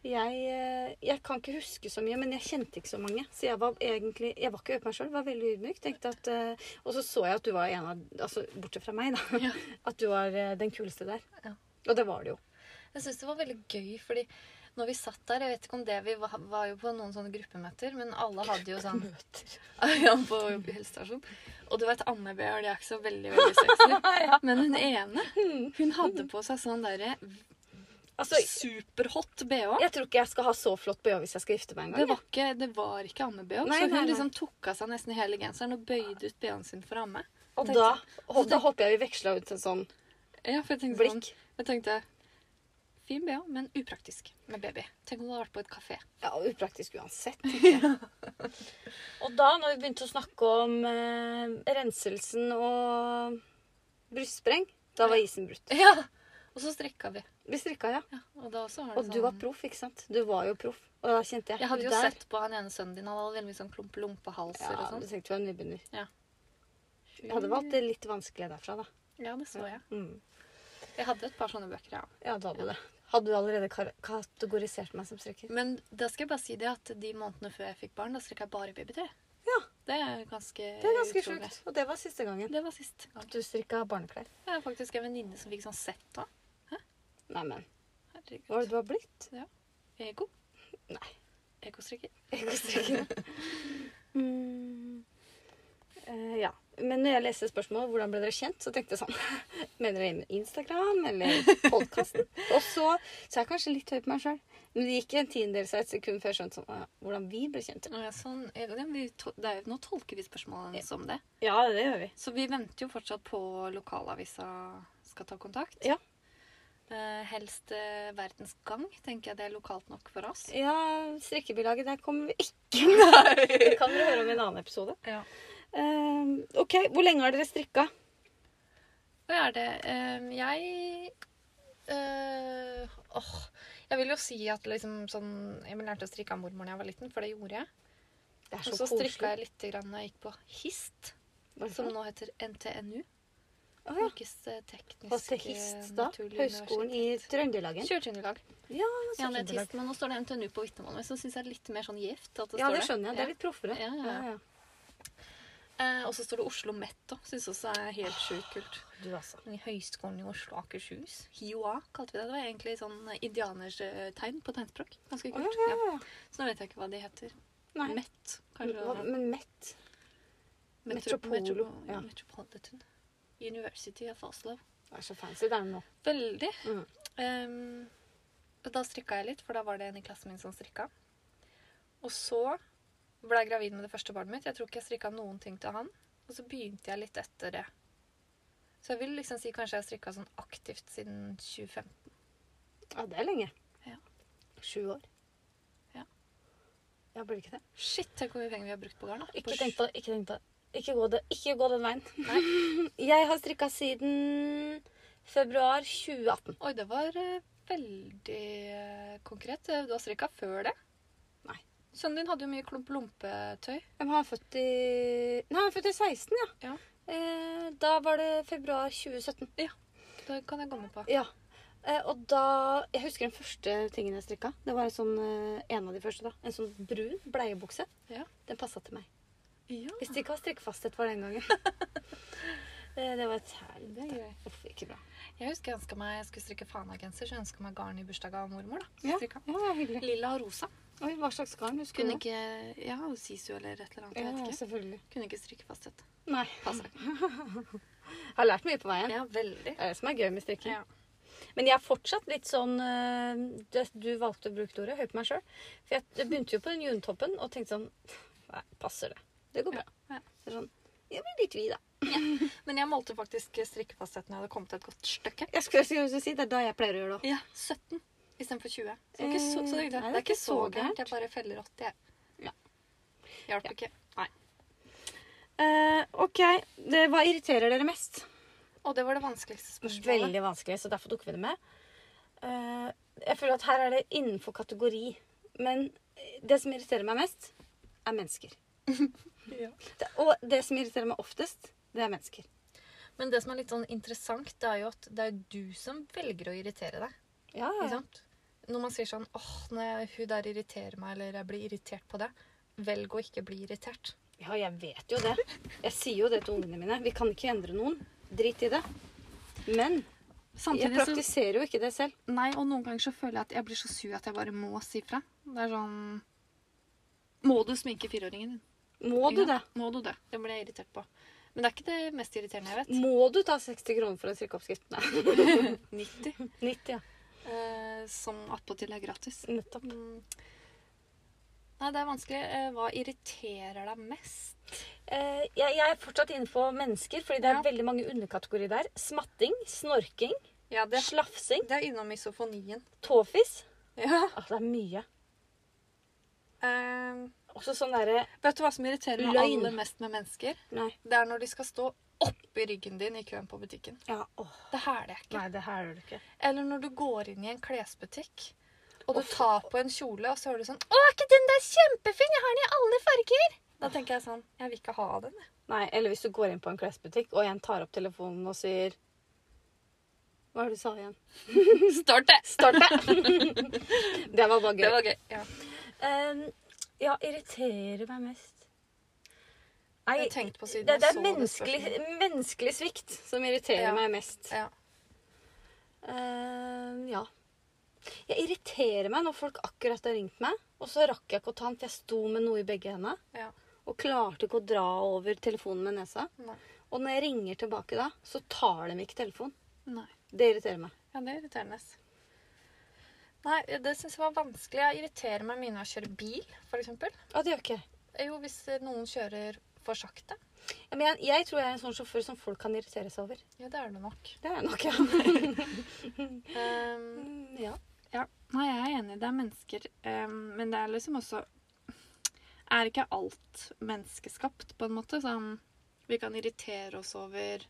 S1: Jeg, eh, jeg kan ikke huske så mye, men jeg kjente ikke så mange. Så jeg var egentlig, jeg var ikke høy på meg sjøl, var veldig ydmyk. tenkte at, eh, Og så så jeg at du var en av altså Bortsett fra meg, da.
S2: Ja.
S1: At du var eh, den kuleste der.
S2: Ja.
S1: Og det var det jo.
S2: Jeg syns det var veldig gøy, fordi når vi satt der Jeg vet ikke om det Vi var, var jo på noen sånne gruppemøter, men alle hadde jo sånn
S1: Møter.
S2: Ja, på helsestasjon. Og du vet, Anne Behøl det er ikke så veldig veldig sexy. Men hun ene
S1: Hmm.
S2: hun hadde på seg sånn derre
S1: Altså,
S2: superhot bh.
S1: jeg tror ikke jeg skal ha så flott BH hvis jeg skal gifte meg en gang.
S2: Det
S1: jeg.
S2: var ikke, det var ikke amme-bh.
S1: Nei,
S2: Så
S1: nei,
S2: hun
S1: nei.
S2: liksom tok av seg nesten hele genseren og bøyde ut bh-en sin for amme.
S1: Og
S2: tenkte
S1: da,
S2: så
S1: da håper jeg vi veksla ut en sånn
S2: Ja, for jeg tenkte sånn,
S1: blikk.
S2: jeg tenkte Fin bh, men upraktisk med baby. Tenk om du hadde vært på et kafé.
S1: Ja, og upraktisk uansett. tenker jeg. og da, når vi begynte å snakke om eh, renselsen og brystspreng, da var isen brutt.
S2: Ja, Og så strikka vi.
S1: Vi strikka, ja.
S2: Ja, og da også var det
S1: Og du var
S2: sånn-
S1: proff, ikke sant? Du var jo proff. Og da kjente jeg
S2: Jeg hadde jo
S1: der-
S2: sett på han ene sønnen din, han hadde veldig mye sånn klump-lompe-halser
S1: ja,
S2: og sånn.
S1: Du tenkte du var nybegynner.
S2: Jeg
S1: Jeg hadde valgt det litt vanskelig derfra, da.
S2: Ja, det så jeg.
S1: Mm.
S2: Jeg hadde et par sånne bøker, ja.
S1: Ja, du hadde det. Hadde du allerede kar kategorisert meg som strikker?
S2: Men da skal jeg bare si det at de månedene før jeg fikk barn, da strikka jeg bare babytøy.
S1: Ja.
S2: Det er ganske
S1: Det er ganske
S2: utrolig.
S1: sjukt. Og det var siste gangen.
S2: Det var sist gang.
S1: At du strikka barneklær.
S2: Jeg har faktisk en venninne som fikk sånn sett da.
S1: Neimen, hva var det
S2: Herregud.
S1: du har blitt?
S2: Ego.
S1: Nei.
S2: Ekostrikker.
S1: Ekostrikkende. mm. Eh, ja. Men når jeg leste spørsmålet hvordan ble dere kjent, så tenkte jeg sånn Mener dere med Instagram eller podkasten? Og så Så jeg er kanskje litt høy på meg sjøl. Men det gikk en tiendedels av et sekund før jeg skjønte sånn, «Å ja, hvordan vi ble kjent.
S2: Ja, sånn, ja, men vi to- det er jo, nå tolker vi spørsmålene som det.
S1: Ja, det gjør vi.
S2: Så vi venter jo fortsatt på lokalavisa skal ta kontakt.
S1: Ja.
S2: Eh, helst eh, Verdens Gang, tenker jeg det er lokalt nok for oss.
S1: Ja, strikkebilaget, der kommer vi ikke. Nei. Det kan dere høre om i en annen episode.
S2: Ja.
S1: Eh, OK, hvor lenge har dere strikka?
S2: Hva er det? Ehm, jeg eh, åh, Jeg vil jo si at liksom sånn Jeg lærte å strikke av mormor da jeg var liten, for det gjorde jeg.
S1: Det
S2: Og så Mhm. strikka jeg litt grann da jeg gikk på HIST, som
S1: Hvorfor?
S2: nå heter NTNU.
S1: Å, ja.
S2: Norges eh,
S1: Og
S2: tekniske
S1: til Histad, Høgskolen i Trøndelagen.
S2: Kjørtunnellag.
S1: Ja,
S2: Ja, det er
S1: Trøndelag.
S2: TIST, men nå står det NTNU på vitnemålet, så syns jeg det er litt mer sånn gjevt. at det
S1: Ja,
S2: står
S1: det skjønner jeg. Det er litt proffere.
S2: Ja, ja, ja.
S1: Ja, ja.
S2: Eh, og så står det Oslo Met òg. Syns også er helt sjukt kult.
S1: Du, altså.
S2: I Høgskolen i Oslo og Akershus. HiOA kalte vi det. Det var egentlig sånn indianerstegn på tegnspråk.
S1: Å,
S2: Ganske
S1: ja,
S2: kult.
S1: ja,
S2: Ja.
S1: ja, ja.
S2: Så nå vet jeg ikke hva de heter.
S1: Nei.
S2: Met, kanskje.
S1: Hva- Men mett
S2: Metro-
S1: Metropolo,
S2: Metro-
S1: ja.
S2: Metropolitan University of Oslo.
S1: Det er så fancy det er nå.
S2: Veldig.
S1: Mm.
S2: Ehm, og da strikka jeg litt, for da var det en i klassen min som strikka. Og så ble jeg gravid med det første barnet mitt. Jeg tror ikke jeg strikka noen ting til han. Og så begynte jeg litt etter det. Så jeg vil liksom si kanskje jeg har strikka sånn aktivt siden 2015.
S1: Ja, det er lenge.
S2: Ja.
S1: Sju år.
S2: Ja.
S1: Ja, blir det ikke det?
S2: Shit, tenk hvor mye penger vi har brukt på garn. da.
S1: Ikke
S2: sj-
S1: tenk på det. Ikke tenk på det. Ikke gå, det, ikke gå den veien. Jeg har strikka siden februar 2018.
S2: Oi, det var eh, veldig eh, konkret. Eh, Du har strikka før det.
S1: Nei.
S2: Sønnen din hadde jo mye klump-lompetøy.
S1: Men han er født i Nei, han er født i 16, ja.
S2: Ja.
S1: Eh, da var det februar 2017.
S2: Det kan jeg gå med på.
S1: Ja. Eh, og da Jeg husker den første tingen jeg strikka. Det var en sånn eh, en av de første. da En sånn brun bleiebukse.
S2: Ja.
S1: Den passa til meg.
S2: Ja,
S1: Hvis det ikke var strikkefasthet for den gangen. eh, det var et
S2: det er
S1: helvete.
S2: gøy.
S1: Uff, ikke bra.
S2: Jeg husker jeg ønsket meg, jeg skulle strikke fana-genser, så jeg ønska meg garn i bursdagen av mormor. da. Så
S1: Ja.
S2: strikka.
S1: Ja, det er hyggelig.
S2: Lilla og rosa.
S1: Oi, hva slags garn husker
S2: Kunne
S1: du?
S2: ikke Ja, sisu eller et eller
S1: Ja, altså.
S2: annet. Jeg vet ikke.
S1: selvfølgelig.
S2: Kunne ikke strikke fast et.
S1: Nei.
S2: Passer.
S1: Jeg har lært mye på veien.
S2: Ja, veldig.
S1: Det er det Eh, som er gøy med strikking.
S2: Ja.
S1: Men jeg er fortsatt litt sånn øh, det- Du valgte å bruke det ordet. Høy på meg sjøl. For jeg jeg begynte jo på den junetoppen og tenkte sånn Nei, passer det. Det går bra.
S2: Ja, ja.
S1: Så sånn, jeg blir litt vid, da.
S2: Men jeg målte faktisk strikkefastheten når jeg hadde kommet til et godt stykke.
S1: Jeg skulle jeg skulle si Det er da jeg pleier å gjøre det òg.
S2: Ja, 17 istedenfor 20. Så det er ikke så, så det, er,
S1: Eh, nei,
S2: det er ikke så gærent. Jeg bare feller 80, jeg.
S1: Ja.
S2: Hjalp ikke.
S1: Eh, OK. Det, hva irriterer dere mest?
S2: Og det var det vanskeligste spørsmålet.
S1: Veldig vanskelig, så derfor tok vi det med. Eh, jeg føler at her er det innenfor kategori. Men det som irriterer meg mest, er mennesker.
S2: Ja.
S1: Det, og det som irriterer meg oftest, det er mennesker.
S2: Men det som er litt sånn interessant, det er jo at det er jo du som velger å irritere deg.
S1: Ja,
S2: Ikke sant? Når man sier sånn åh, når hun der irriterer meg, eller jeg blir irritert på det. Velg å ikke bli irritert.
S1: Ja, jeg vet jo det. Jeg sier jo det til ungene mine. Vi kan ikke endre noen. Drit i det. Men jeg
S2: Samtidig så
S1: praktiserer jo ikke det selv.
S2: Nei, og noen ganger så føler jeg at jeg blir så sur at jeg bare må si fra. Det er sånn Må du sminke fireåringen din?
S1: Må du
S2: Ikke
S1: det?
S2: sant? Må du det? Det blir jeg irritert på. Men det er ikke det mest irriterende jeg vet.
S1: Må du ta 60 kroner for en strikkeoppskrift? Nei.
S2: 90.
S1: 90, ja.
S2: Eh, som attpåtil er gratis.
S1: Nettopp.
S2: Mm. Nei, det er vanskelig. Eh, hva irriterer deg mest?
S1: Eh, jeg, jeg er fortsatt inne på mennesker, fordi det er
S2: Ja.
S1: veldig mange underkategorier der. Smatting, snorking,
S2: Ja, det,
S1: slafsing,
S2: det er innom misofonien.
S1: tåfis.
S2: Ja.
S1: Altså, det er mye.
S2: Eh,
S1: Også sånn derre
S2: Vet du hva som irriterer meg
S1: Løgn.
S2: aller mest med mennesker?
S1: Nei.
S2: Det er når de skal stå oppi ryggen din i køen på butikken.
S1: Ja, åh.
S2: Det hæler jeg ikke.
S1: Nei, det her gjør du ikke.
S2: Eller når du går inn i en klesbutikk, og du
S1: Uff.
S2: tar på en kjole, og så hører du sånn 'Å, er ikke den der kjempefin? Jeg har den i alle farger!' Da tenker jeg sånn Jeg vil ikke ha den. jeg.
S1: Nei, eller hvis du går inn på en klesbutikk, og en tar opp telefonen og sier Hva var det du sa igjen?
S2: Start det!
S1: Start det! det var bare gøy.
S2: Det var gøy. Ja.
S1: Ehm, ja, irriterer meg mest. Nei,
S2: Jeg tenkte på siden
S1: det,
S2: jeg
S1: det er
S2: så det
S1: menneskelig,
S2: spørsmålet.
S1: menneskelig svikt som irriterer
S2: Ja.
S1: meg mest.
S2: Ja.
S1: Ehm, ja. Jeg irriterer meg når folk akkurat har ringt meg, og så rakk jeg ikke å ta den, for jeg sto med noe i begge hendene.
S2: Ja.
S1: Og klarte ikke å dra over telefonen med nesa.
S2: Nei.
S1: Og når jeg ringer tilbake da, så tar de ikke telefonen.
S2: Nei.
S1: Det irriterer meg.
S2: Ja, det er irriterende. Nei, det syns jeg var vanskelig. Jeg irriterer meg mye når jeg kjører bil, f.eks.
S1: Ja, det gjør ikke jeg.
S2: Jo, hvis noen kjører for sakte.
S1: Ja, Men jeg, jeg tror jeg er en sånn sjåfør som folk kan irritere seg over.
S2: Ja, det er det nok.
S1: Det er jeg nok, ja.
S2: Um,
S1: Mm, ja.
S2: Ja, nei, jeg er enig. Det er mennesker. ehm, men det er liksom også Er ikke alt menneskeskapt, på en måte? Sånn Vi kan irritere oss over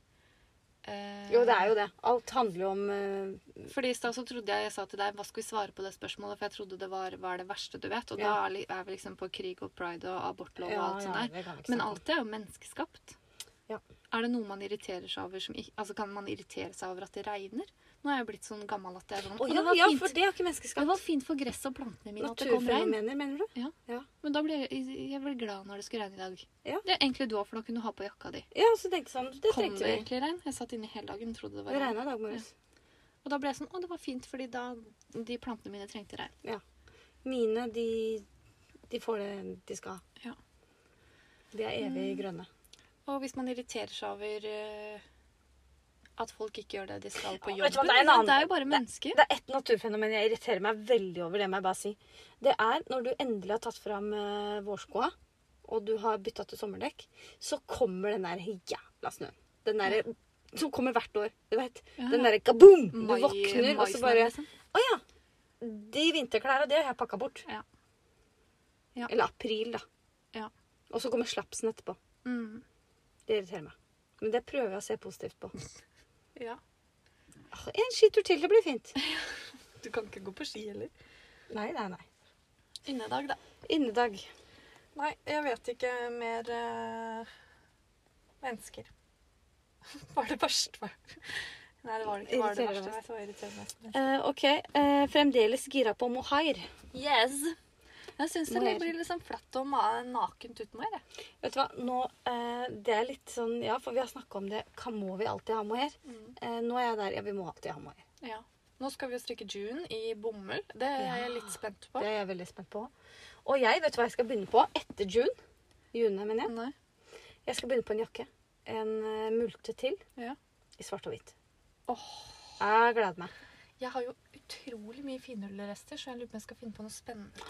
S2: eh,
S1: Jo, det er jo det. Alt handler jo om eh,
S2: Fordi I stad så trodde jeg jeg sa til deg hva skal vi svare på det spørsmålet, for jeg trodde det var hva er det verste du vet. Og da
S1: Ja.
S2: er li- er vi liksom på krig og pride og abortlov og
S1: ja,
S2: alt sånt
S1: ja,
S2: der.
S1: det kan vi ikke
S2: Men
S1: snakke om.
S2: alt er jo menneskeskapt.
S1: Ja.
S2: Er det noe man irriterer seg over som ikke Altså, kan man irritere seg over at det regner? Nå er jeg blitt sånn gammel at jeg er sånn
S1: Å
S2: «Å,
S1: ja,
S2: det var
S1: ja,
S2: fint.
S1: for det er jo ikke
S2: Det var
S1: menneskeskapt.
S2: fint for gresset og plantene mine at det kom regn.
S1: Naturfenomener, mener du?
S2: Ja.
S1: Ja.
S2: Men da ble jeg, jeg ble glad når det skulle regne i dag.
S1: Ja.
S2: Det er egentlig du òg, for da kunne du ha på jakka di.
S1: Ja, så tenkte jeg sånn, det
S2: Kom det
S1: trengte vi.
S2: egentlig regn? Jeg satt inne hele dagen og trodde det var
S1: Det
S2: regn.
S1: regna i dag morges.
S2: Og da ble jeg sånn Å, det var fint, fordi da de plantene mine trengte regn.
S1: Mine, de, de får det de skal ha.
S2: Ja.
S1: De er evig grønne.
S2: Og hvis man irriterer seg over eh, at folk ikke gjør det de skal på
S1: Ja,
S2: jobben
S1: vet du hva, det er en annen-
S2: Det er jo bare mennesker.
S1: Det er ett naturfenomen jeg irriterer meg veldig over. Det må jeg bare si. Det er når du endelig har tatt fram eh, vårskoa, og du har bytta til sommerdekk, så kommer den der jævla snøen. Den der, Som kommer hvert år. Du vet.
S2: Ja.
S1: Den derre kaboom! Du
S2: Mai-
S1: våkner, og så
S2: maisene,
S1: bare
S2: liksom.
S1: Å ja. De vinterklærne, det har jeg pakka bort.
S2: Ja. Ja.
S1: Eller april, da.
S2: Ja.
S1: Og så kommer slapsen etterpå.
S2: Mm.
S1: Det irriterer meg. Men det prøver jeg å se positivt på.
S2: Ja.
S1: Ah, En skitur til, det blir fint.
S2: Du kan ikke gå på ski heller.
S1: Nei, nei, nei.
S2: Innedag, da.
S1: Innedag.
S2: Nei, jeg vet ikke mer
S1: eh,
S2: mennesker. Var det verste? Nei, det var
S1: ikke. Var det Irriterer verste? meg.
S2: Det var irriterende.
S1: Eh, ok, eh, fremdeles gira på mohair.
S2: Yes! Jeg syns det
S1: Mohair.
S2: blir litt sånn flatt og ma- nakent uten meg. jeg.
S1: Vet du hva, nå eh, Det er litt sånn Ja, for vi har snakka om det. Hva må vi alltid ha mohair? Eh, nå er jeg der. Ja, vi må alltid ha mohair.
S2: Ja. Nå skal vi jo strikke June i bomull. Det er jeg litt spent på.
S1: Det er jeg veldig spent på. Og jeg, vet du hva jeg skal begynne på? Etter June. June, mener jeg.
S2: Nei.
S1: Jeg skal begynne på en jakke. En eh, multe til.
S2: Ja.
S1: I svart og hvitt.
S2: Åh.
S1: Jeg gleder meg.
S2: Jeg har jo utrolig mye finhullrester, så jeg lurer på om jeg skal finne på noe spennende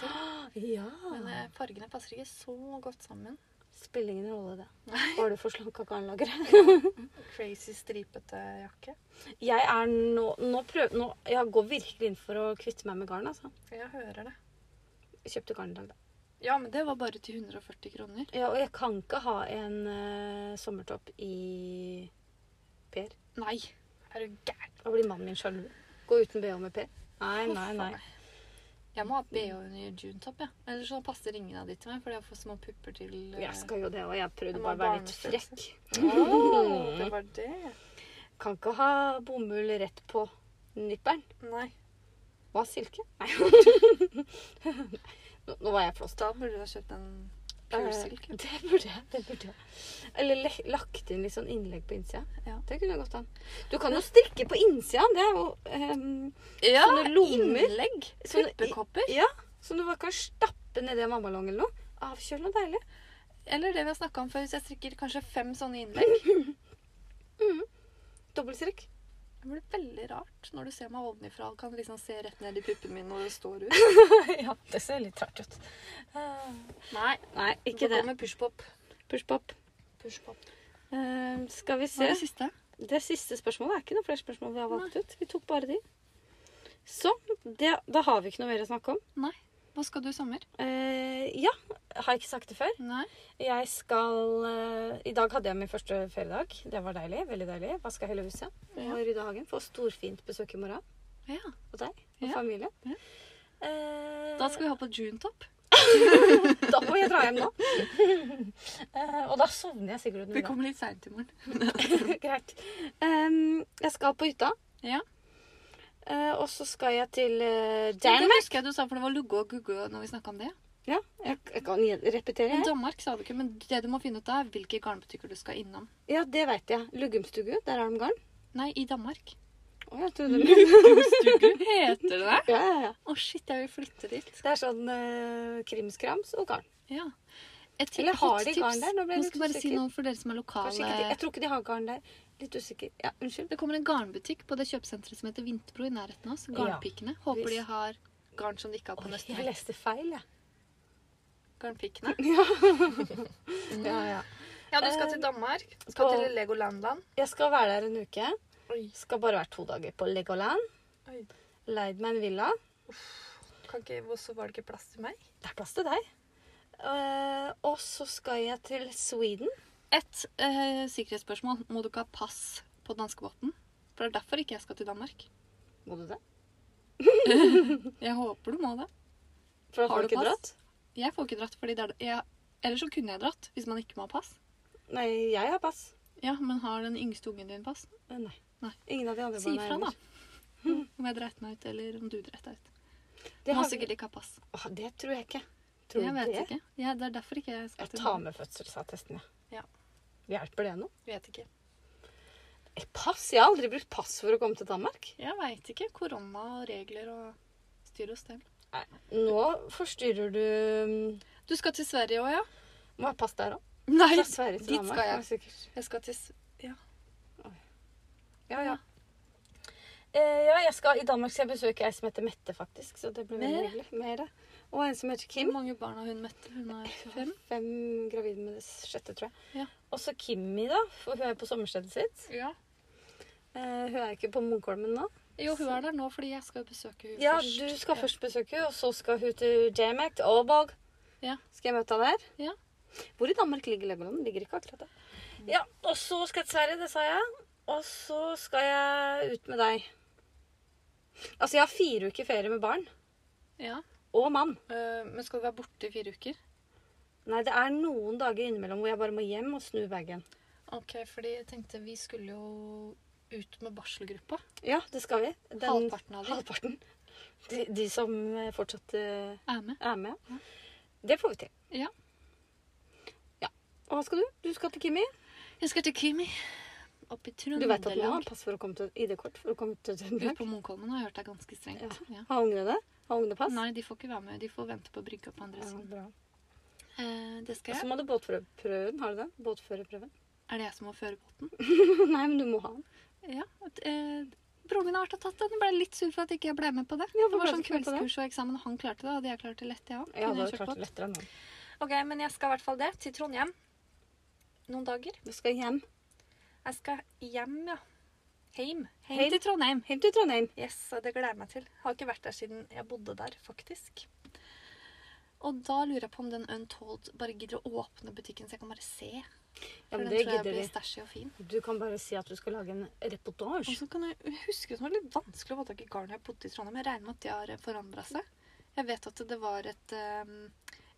S2: til.
S1: Ja.
S2: Men eh, fargene passer ikke så godt sammen.
S1: Spiller ingen rolle, det. Bare du får slanka garnlageret.
S2: Crazy stripete jakke.
S1: Jeg er nå, nå, prøv, nå Jeg går virkelig inn for å kvitte meg med garn. altså.
S2: Jeg hører det.
S1: Jeg kjøpte garn i dag, da.
S2: Ja, men det var bare til 140 kroner.
S1: Ja, og jeg kan ikke ha en eh, sommertopp i Per.
S2: Nei! Er du gæren?
S1: Da blir mannen min sjalu. Gå uten BH med Per. Nei, nei,
S2: Huff a
S1: nei.
S2: meg. Jeg må ha BH under junetopp, jeg. Ja. Ellers så passer ringene av de til meg, fordi jeg får små pupper til eh,
S1: Jeg skal jo det, og jeg prøvde
S2: Jeg må
S1: bare å være litt
S2: barnefølelse.
S1: frekk.
S2: Åh, det var det.
S1: Kan ikke ha bomull rett på nipperen.
S2: Nei.
S1: Hva, silke? Nei. nå, nå var jeg flåst.
S2: Da burde du ha kjøpt en pure silk.
S1: Eh, Det burde jeg. det burde jeg. Eller le- lagt inn litt sånn innlegg på innsida.
S2: Ja.
S1: Det kunne gått an. Du kan jo strikke på innsida. Det er jo ehm,
S2: Ja,
S1: Sånne lommer.
S2: Innlegg.
S1: Sånne-
S2: Puppekopper.
S1: Ja, som du bare kan stappe nedi en vannballong eller noe. Avkjølende og deilig.
S2: Eller det vi har snakka om før, hvis jeg strikker kanskje fem sånne innlegg.
S1: Dobbeltstrikk.
S2: Det blir veldig rart når du ser meg ovenifra og kan liksom se rett ned i puppene mine når det står ut.
S1: ja, det ser litt rart ut.
S2: Nei,
S1: Eh, Nei,
S2: ikke
S1: ikke
S2: det.
S1: det.
S2: kommer pushpop.
S1: Pushpop.
S2: Pushpop.
S1: Eh, skal vi
S2: Hva
S1: se.
S2: er det siste?
S1: Det siste spørsmålet er ikke noen flere spørsmål vi har valgt ut. Vi tok bare de. Så, det, da har vi ikke noe mer å snakke om.
S2: Nei. Hva skal du i sommer?
S1: Eh, ja, har jeg ikke sagt det før.
S2: Nei.
S1: Jeg skal eh, I dag hadde jeg min første feriedag. Det var deilig. Veldig deilig. Vaska hele huset
S2: Ja.
S1: og rydda hagen. Får storfint besøk i morgen
S2: Ja.
S1: av deg og
S2: Ja.
S1: familien.
S2: Ja.
S1: Eh,
S2: Da skal vi ha på junetop.
S1: da må jeg dra hjem nå. Eh, og da sovner jeg sikkert
S2: Vi
S1: under
S2: kommer litt seint i morgen.
S1: middag. Greit. Em, jeg skal på hytta.
S2: Ja.
S1: Eh, og så skal jeg til eh,
S2: Det
S1: Danmark.
S2: husker jeg du sa, for det var lugge og gugge når vi snakka om det.
S1: Ja, jeg, jeg kan igjen repetere.
S2: Men
S1: jeg.
S2: Danmark sa du ikke, men det du må finne ut av, er hvilke garnbutikker du skal innom.
S1: Ja, det veit jeg. Luggumstugu. Der har de garn.
S2: Nei, i Danmark.
S1: Å, jeg trodde det
S2: Stugu heter det det?
S1: ja, ja, ja.
S2: Å, shit, jeg vil flytte dit.
S1: Det er sånn eh, krimskrams og garn.
S2: Ja. Et ti-
S1: Eller har
S2: hot
S1: de
S2: tips.
S1: garn der? Nå ble jeg
S2: Nå
S1: litt
S2: skal jeg bare si
S1: usikker.
S2: noe for dere som er
S1: Kanskje ikke de,
S2: lokale.
S1: jeg tror ikke de har garn der. Litt usikker. Ja, unnskyld.
S2: Det kommer en garnbutikk på det kjøpesenteret som heter Vinterbro i nærheten av oss. Garnpikkene. Håper de har garn som de ikke har på
S1: Oi,
S2: neste
S1: jeg
S2: helg.
S1: leste feil, jeg.
S2: Garnpikkene.
S1: Ja, ja.
S2: Ja, du skal til Danmark. Du skal
S1: på-
S2: til Legolandland.
S1: Jeg skal være der en uke.
S2: Oi.
S1: Skal bare være to dager på Legoland.
S2: Oi.
S1: Leid meg en villa.
S2: Kan ikke, hvorfor var det ikke plass til meg?
S1: Det er plass til deg. Eh, og så skal jeg til Sweden.
S2: Et eh, sikkerhetsspørsmål. Må du ikke ha pass på danskebåten? For det er derfor ikke jeg skal til Danmark.
S1: Må du det?
S2: Jeg håper du må det.
S1: For at
S2: Har
S1: har
S2: du
S1: du ikke
S2: pass?
S1: dratt?
S2: Jeg får ikke dratt fordi det er jeg, Ellers så kunne jeg dratt hvis man ikke må ha pass.
S1: Nei, jeg har pass.
S2: Ja, men har den yngste ungen din pass?
S1: Eh, Nei.
S2: Nei.
S1: Ingen av de andre
S2: Si
S1: barna
S2: ifra, da.
S1: heller.
S2: Om jeg dreit meg ut, eller om du dreit deg ut.
S1: Det,
S2: Må
S1: har...
S2: sikkert ikke ha pass.
S1: Åh, det tror jeg ikke. Tror
S2: jeg
S1: du
S2: vet
S1: det?
S2: ikke. Ja, det er derfor ikke jeg skal
S1: Jeg tar med fødselsattesten, jeg.
S2: Ja.
S1: Hjelper det noe?
S2: Vet ikke.
S1: Eh, Pass? Jeg har aldri brukt pass for å komme til Danmark.
S2: Jeg veit ikke. Korona og regler og styr og stell.
S1: Nå forstyrrer du mm,
S2: Du skal til Sverige òg, ja?
S1: Må jeg passe der òg?
S2: Nei,
S1: Fra Sverige til
S2: dit
S1: Danmark.
S2: skal jeg.
S1: er sikkert.
S2: jeg skal til S-
S1: Ja, ja. Eh, ja, jeg skal, I Danmark skal jeg besøke ei som heter Mette, faktisk. Så det blir veldig
S2: Mere?
S1: hyggelig. Mere. Og en som heter
S2: Hvor
S1: Kim.
S2: mange barn har hun møtt? Hun er fem?
S1: Fem gravid med det sjette, tror jeg.
S2: Ja.
S1: Og så Kimmi, da. For hun er på sommerstedet sitt.
S2: Ja.
S1: Eh, hun er ikke på Munkholmen nå.
S2: Jo, hun er der nå fordi jeg skal besøke hun
S1: Ja,
S2: først.
S1: du skal først besøke henne, og så skal hun til Jamek, til Aalborg.
S2: Ja.
S1: Skal jeg møte henne der?
S2: Ja. Mm.
S1: Hvor i Danmark ligger Legoland? Den Ligger ikke akkurat der. Ja, og så skal jeg til Sverige, det sa jeg. Og så skal jeg ut med deg. Altså, jeg har fire uker ferie med barn.
S2: Ja.
S1: Og mann.
S2: Eh, men skal du være borte i fire uker?
S1: Nei, det er noen dager innimellom hvor jeg bare må hjem og snu bagen.
S2: Ok, fordi jeg tenkte vi skulle jo ut med barselgruppa.
S1: Ja, det skal vi.
S2: Halvparten av dem
S1: Halvparten. De, de som eh, fortsatt eh,
S2: er med.
S1: er med. Det får vi til.
S2: Ja.
S1: Ja. Og hva skal du? Du skal til Kimi.
S2: Jeg skal til Kimi. Opp i
S1: Du vet at man har
S2: Trøndelag.
S1: pass for å komme til ID-kort for å komme til
S2: Ute
S1: Trøndelag.
S2: på Munkholmen har jeg hørt det er ganske strengt. Ja.
S1: Har ungene det? Har ungene pass?
S2: Nei, de får ikke være med. De får vente på brygga på andre
S1: Ja, Altså-
S2: siden.
S1: bra.
S2: Eh, det
S1: Og
S2: skal
S1: så
S2: jeg.
S1: må du båtførerprøven. Har du den? Båtførerprøven?
S2: Er det jeg som må føre båten?
S1: Nei, men du må ha den.
S2: Ja. at, eh, Broren min har vært og tatt den. Jeg ble litt sur for at ikke jeg ble med på det.
S1: Ja,
S2: det
S1: hvorfor
S2: var
S1: ble
S2: sånn
S1: du ikke med på det?
S2: kveldskurs og eksamen, og han klarte det. Hadde jeg klart det lett, jeg òg.
S1: Ja, da er det klart det er lettere enn den.
S2: Ok, men jeg skal i hvert fall det. Til Trondheim. Noen dager.
S1: Du skal hjem.
S2: Jeg skal hjem, ja. Heim. Heim,
S1: Heim.
S2: til Trondheim.
S1: Hjem til Trondheim.
S2: Yes, og det gleder jeg meg til. Har ikke vært der siden jeg bodde der, faktisk. Og da lurer jeg på om den Untold bare gidder å åpne butikken, så jeg kan bare se.
S1: Ja,
S2: For
S1: men
S2: den
S1: det
S2: tror jeg
S1: gidder de.
S2: blir stæsjig og fin.
S1: Du kan bare si at du skal lage en
S2: Og
S1: reportasje.
S2: så kan jeg jeg husker det var litt vanskelig å få tak i garn da jeg bodde i Trondheim. Jeg regner med at de har forandra seg. Jeg vet at det var et, eh,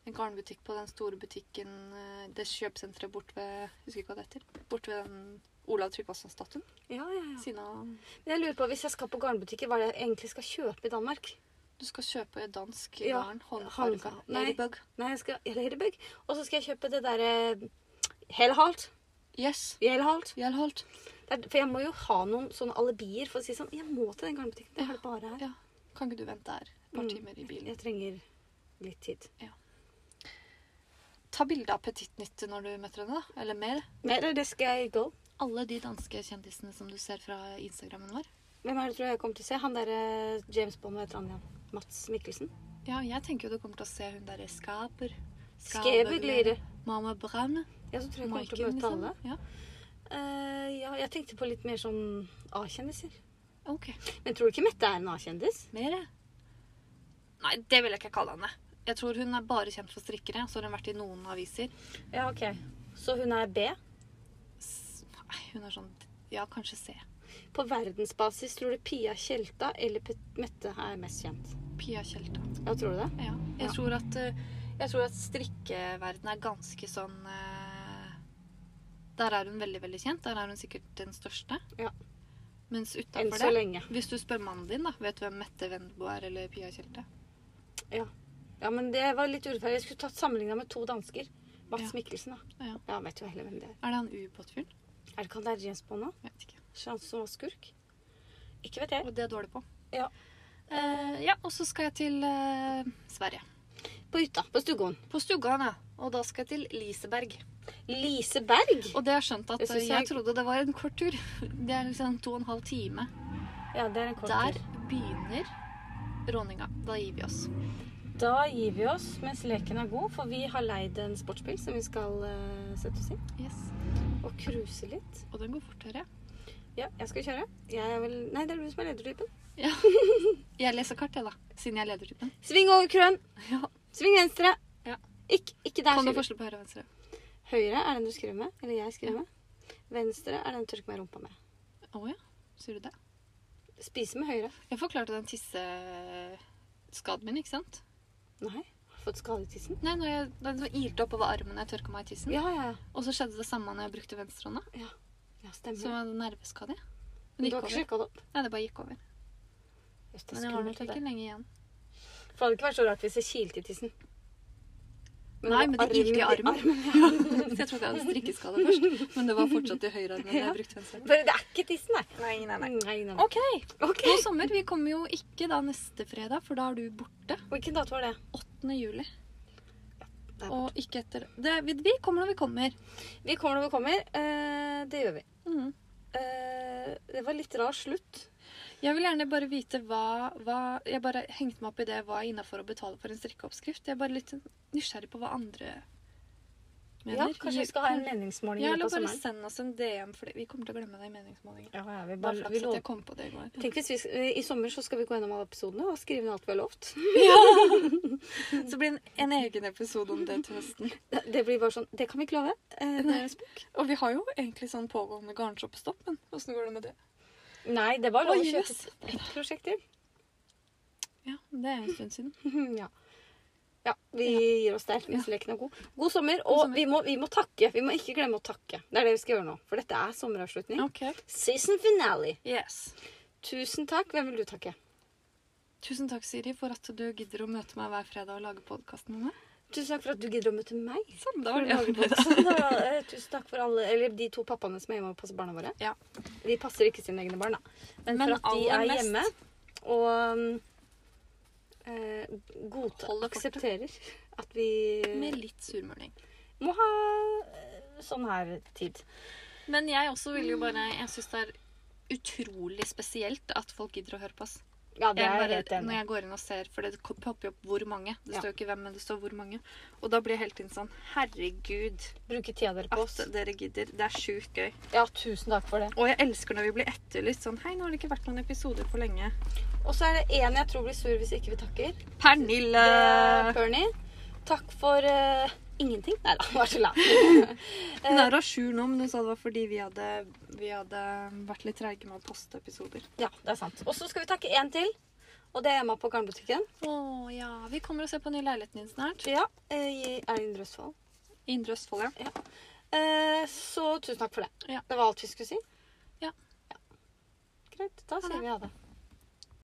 S2: en garnbutikk på den store butikken eh, Det kjøpesenteret bort ved jeg husker ikke hva det heter, bort ved den Olav Tryggvason-statuen.
S1: Ja, ja, ja.
S2: Siden av
S1: Men jeg lurer på, Hvis jeg skal på garnbutikker, hva er det jeg egentlig skal kjøpe i Danmark?
S2: Du skal kjøpe dansk
S1: Ja,
S2: garn.
S1: han-
S2: Håndfarga.
S1: nei.
S2: Ladybug.
S1: Nei, jeg skal Ladybug. Og så skal jeg kjøpe det eh, derre Helhalt.
S2: Yes.
S1: Helhalt.
S2: Hjelholt.
S1: Det er- For jeg må jo ha noen sånne alibier for å si sånn Jeg må til den garnbutikken. Jeg har det bare her.
S2: Ja. Kan ikke du vente her et par
S1: Mm.
S2: timer i bilen?
S1: Jeg trenger litt tid.
S2: Ta bilde av Petittnytte når du møter henne, da. Eller mer.
S1: Mer, det skal jeg gå.
S2: Alle de danske kjendisene som du ser fra Instagrammen vår.
S1: Hvem er det tror jeg kommer til å se? Han derre James Bond og et eller annet igjen. Mats Mikkelsen.
S2: Ja, jeg tenker jo du kommer til å se hun derre Skaper.
S1: Skæbeglire.
S2: Mamma Brann.
S1: Ja, så tror jeg jeg kommer til å
S2: Maiken,
S1: møte
S2: liksom.
S1: alle.
S2: Ja.
S1: Eh, ja, jeg tenkte på litt mer sånn A-kjendiser.
S2: OK.
S1: Men tror du ikke Mette er en A-kjendis?
S2: Mer? jeg. Nei, det vil jeg ikke kalle henne. Jeg tror hun er bare kjent for strikkere. Så har hun vært i noen aviser.
S1: Ja, ok. Så hun er B?
S2: S- Nei, hun er sånn Ja, kanskje C.
S1: På verdensbasis tror du Pia Tjelta eller Pet- Mette er mest kjent?
S2: Pia Tjelta.
S1: Ja, tror du det?
S2: Ja. Jeg,
S1: Ja.
S2: Tror at, eh, jeg tror at strikkeverdenen er ganske sånn eh, Der er hun veldig veldig kjent. Der er hun sikkert den største.
S1: Ja.
S2: Mens
S1: Enn
S2: utafor
S1: så
S2: det
S1: lenge.
S2: Hvis du spør mannen din, da, vet du hvem Mette Wendbo er eller Pia Tjelte?
S1: Ja, men det var litt urettferdig. Jeg skulle tatt sammenligna med to dansker. Mats
S2: Ja.
S1: Mikkelsen, da.
S2: Ja.
S1: Ja, vet jo heller hvem det er.
S2: Er det han ubåtfyren?
S1: Er det ikke han der James Bond nå?
S2: Vet ikke.
S1: Han som var skurk? Ikke vet jeg.
S2: Og det er dårlig på.
S1: Ja.
S2: Eh, ja, og så skal jeg til eh, Sverige.
S1: På hytta. På Stuggoen.
S2: På Stuggan, ja. Og da skal jeg til Liseberg.
S1: Lise Berg.
S2: Og det har jeg skjønt at
S1: Jeg
S2: eh,
S1: synes
S2: jeg,
S1: jeg-
S2: trodde det var en kort tur. Det er liksom to og en halv time.
S1: Ja, det er en kort
S2: Der
S1: tur.
S2: begynner råninga. Da gir vi oss.
S1: Da gir vi oss mens leken er god, for vi har leid en sportsbil som vi skal eh, sette oss inn.
S2: Yes.
S1: Og cruise litt.
S2: Og den går fort, hører jeg.
S1: Ja, jeg skal kjøre. Jeg er vel Nei, det er du som er ledertypen.
S2: Jeg leser kart, jeg, da. Siden jeg er ledertypen.
S1: Sving over krøen.
S2: Ja.
S1: Sving venstre.
S2: Ja.
S1: Ikk, ikke der.
S2: Kan du
S1: sier du.
S2: forskjell på høyre og venstre?
S1: Høyre er den du skriver med, eller jeg skriver med. Venstre er den du tørker meg i rumpa med.
S2: Å ja. Sier du det?
S1: Spise med høyre.
S2: Jeg forklarte den tisseskaden min, ikke sant?
S1: Nei. Har fått skade i tissen.
S2: Nei, når jeg, den som irte oppover armen når jeg tørka meg i tissen.
S1: Ja, ja, ja.
S2: Og så skjedde det samme når jeg brukte venstrehånda.
S1: Ja. Ja,
S2: som
S1: stemmer.
S2: hadde nerveskade.
S1: Du har
S2: Men det gikk
S1: ikke
S2: over.
S1: sjekka det opp?
S2: Nei, det bare gikk over.
S1: Jøss, det er
S2: Men jeg har
S1: skummelt,
S2: nok
S1: det der.
S2: ikke lenge igjen.
S1: For det hadde ikke vært så rart hvis det kilte i tissen.
S2: Nei, men det kilte i armen.
S1: ja.
S2: Så jeg trodde jeg hadde strikkeskade først, men det var fortsatt i høyrearmen
S1: Ja.
S2: jeg brukte venstre.
S1: Bare det er ikke tissen, nei.
S2: Nei, nei,
S1: Nei, nei, nei.
S2: OK.
S1: Ok.
S2: God sommer. Vi kommer jo ikke da neste fredag, for da er du borte.
S1: Hvilken dato var det?
S2: 8. juli.
S1: det er
S2: Og ikke etter det, vi, vi kommer når vi kommer.
S1: Vi kommer når vi kommer. Eh, det gjør vi.
S2: Mhm.
S1: Eh, det var litt rar slutt.
S2: Jeg vil gjerne bare vite hva, hva Jeg bare hengte meg opp i det hva er innafor å betale for en strikkeoppskrift. Jeg er bare litt nysgjerrig på hva andre mener.
S1: Ja, kanskje vi skal ha en meningsmåling
S2: Ja,
S1: i løpet av
S2: eller bare
S1: sommeren.
S2: send oss en DM, for vi kommer til å glemme det i meningsmålingen.
S1: Ja, ja, vi
S2: Bare
S1: bare, vi
S2: flaks at
S1: lover.
S2: jeg kom på det i går.
S1: Tenk hvis vi, sk- I sommer så skal vi gå gjennom alle episodene og skrive ned alt vi har lovt.
S2: Så blir det en, en egen episode om det til høsten.
S1: Det, det blir bare sånn Det kan vi ikke love. Eh, det,
S2: Og vi har jo egentlig sånn pågående garnshoppstopp, men åssen går det med det?
S1: nei, det var lov å
S2: Oi,
S1: kjøpe
S2: jøss.
S1: et prosjekt til. Mhm,
S2: Ja, det er en stund siden.
S1: Ja. ja. Vi gir oss der hvis leken er god. God sommer.
S2: God
S1: Og
S2: sommer.
S1: Vi, må, vi må takke. Vi må ikke glemme å takke. Det er det vi skal gjøre nå. For dette er sommeravslutning.
S2: Ok.
S1: Season finale.
S2: Yes.
S1: Tusen takk. Hvem vil du takke?
S2: Tusen takk, Siri, for at du gidder å møte meg hver fredag og lage podkasten med meg.
S1: Tusen takk for at du gidder å møte meg.
S2: Sånn,
S1: For å lage podcasten. Og, eh, Tusen takk for alle, eller de to pappaene som er hjemme og passer barna våre.
S2: Ja.
S1: De passer ikke sine egne barn, da. Men,
S2: Men
S1: for at de
S2: aller
S1: er
S2: mest-
S1: hjemme og um, eh, godtar,
S2: Holder fortet.
S1: aksepterer at vi
S2: Med litt surmuling.
S1: må ha eh, sånn her tid.
S2: Men jeg også vil jo bare Jeg syns det er utrolig spesielt at folk gidder å høre på oss.
S1: Ja, det
S2: Jeg
S1: er jeg
S2: bare,
S1: helt
S2: når
S1: enig i.
S2: jeg går inn og ser, for det popper jo opp hvor mange. Det
S1: Ja.
S2: står jo ikke hvem, men det står hvor mange. Og da blir jeg helt inn sånn Herregud,
S1: Bruke tida dere på oss.
S2: at dere gidder. Det er sjukt gøy.
S1: Ja, tusen takk for det.
S2: Og jeg elsker når vi blir etterlyst sånn Hei, nå har det ikke vært noen episoder på lenge.
S1: Og så er det én jeg tror blir sur hvis ikke vi takker.
S2: Pernille!
S1: Eh, Bernie, takk for eh, ingenting. Nei da, vær så glad.
S2: Hun er av sju nå, men hun sa det var fordi vi hadde, vi hadde vært litt treige med å poste episoder.
S1: Ja, det er sant. Og så skal vi takke én til. Og det er Emma på Garnbutikken.
S2: Å ja. Vi kommer og ser på den nye leiligheten din snart.
S1: Ja, eh, i Eirin Røsvold.
S2: I Indre Østfold, ja.
S1: Eh, Så tusen takk for det.
S2: Ja.
S1: Det var alt vi skulle si.
S2: Ja.
S1: Greit. Da
S2: det.
S1: sier vi ha det.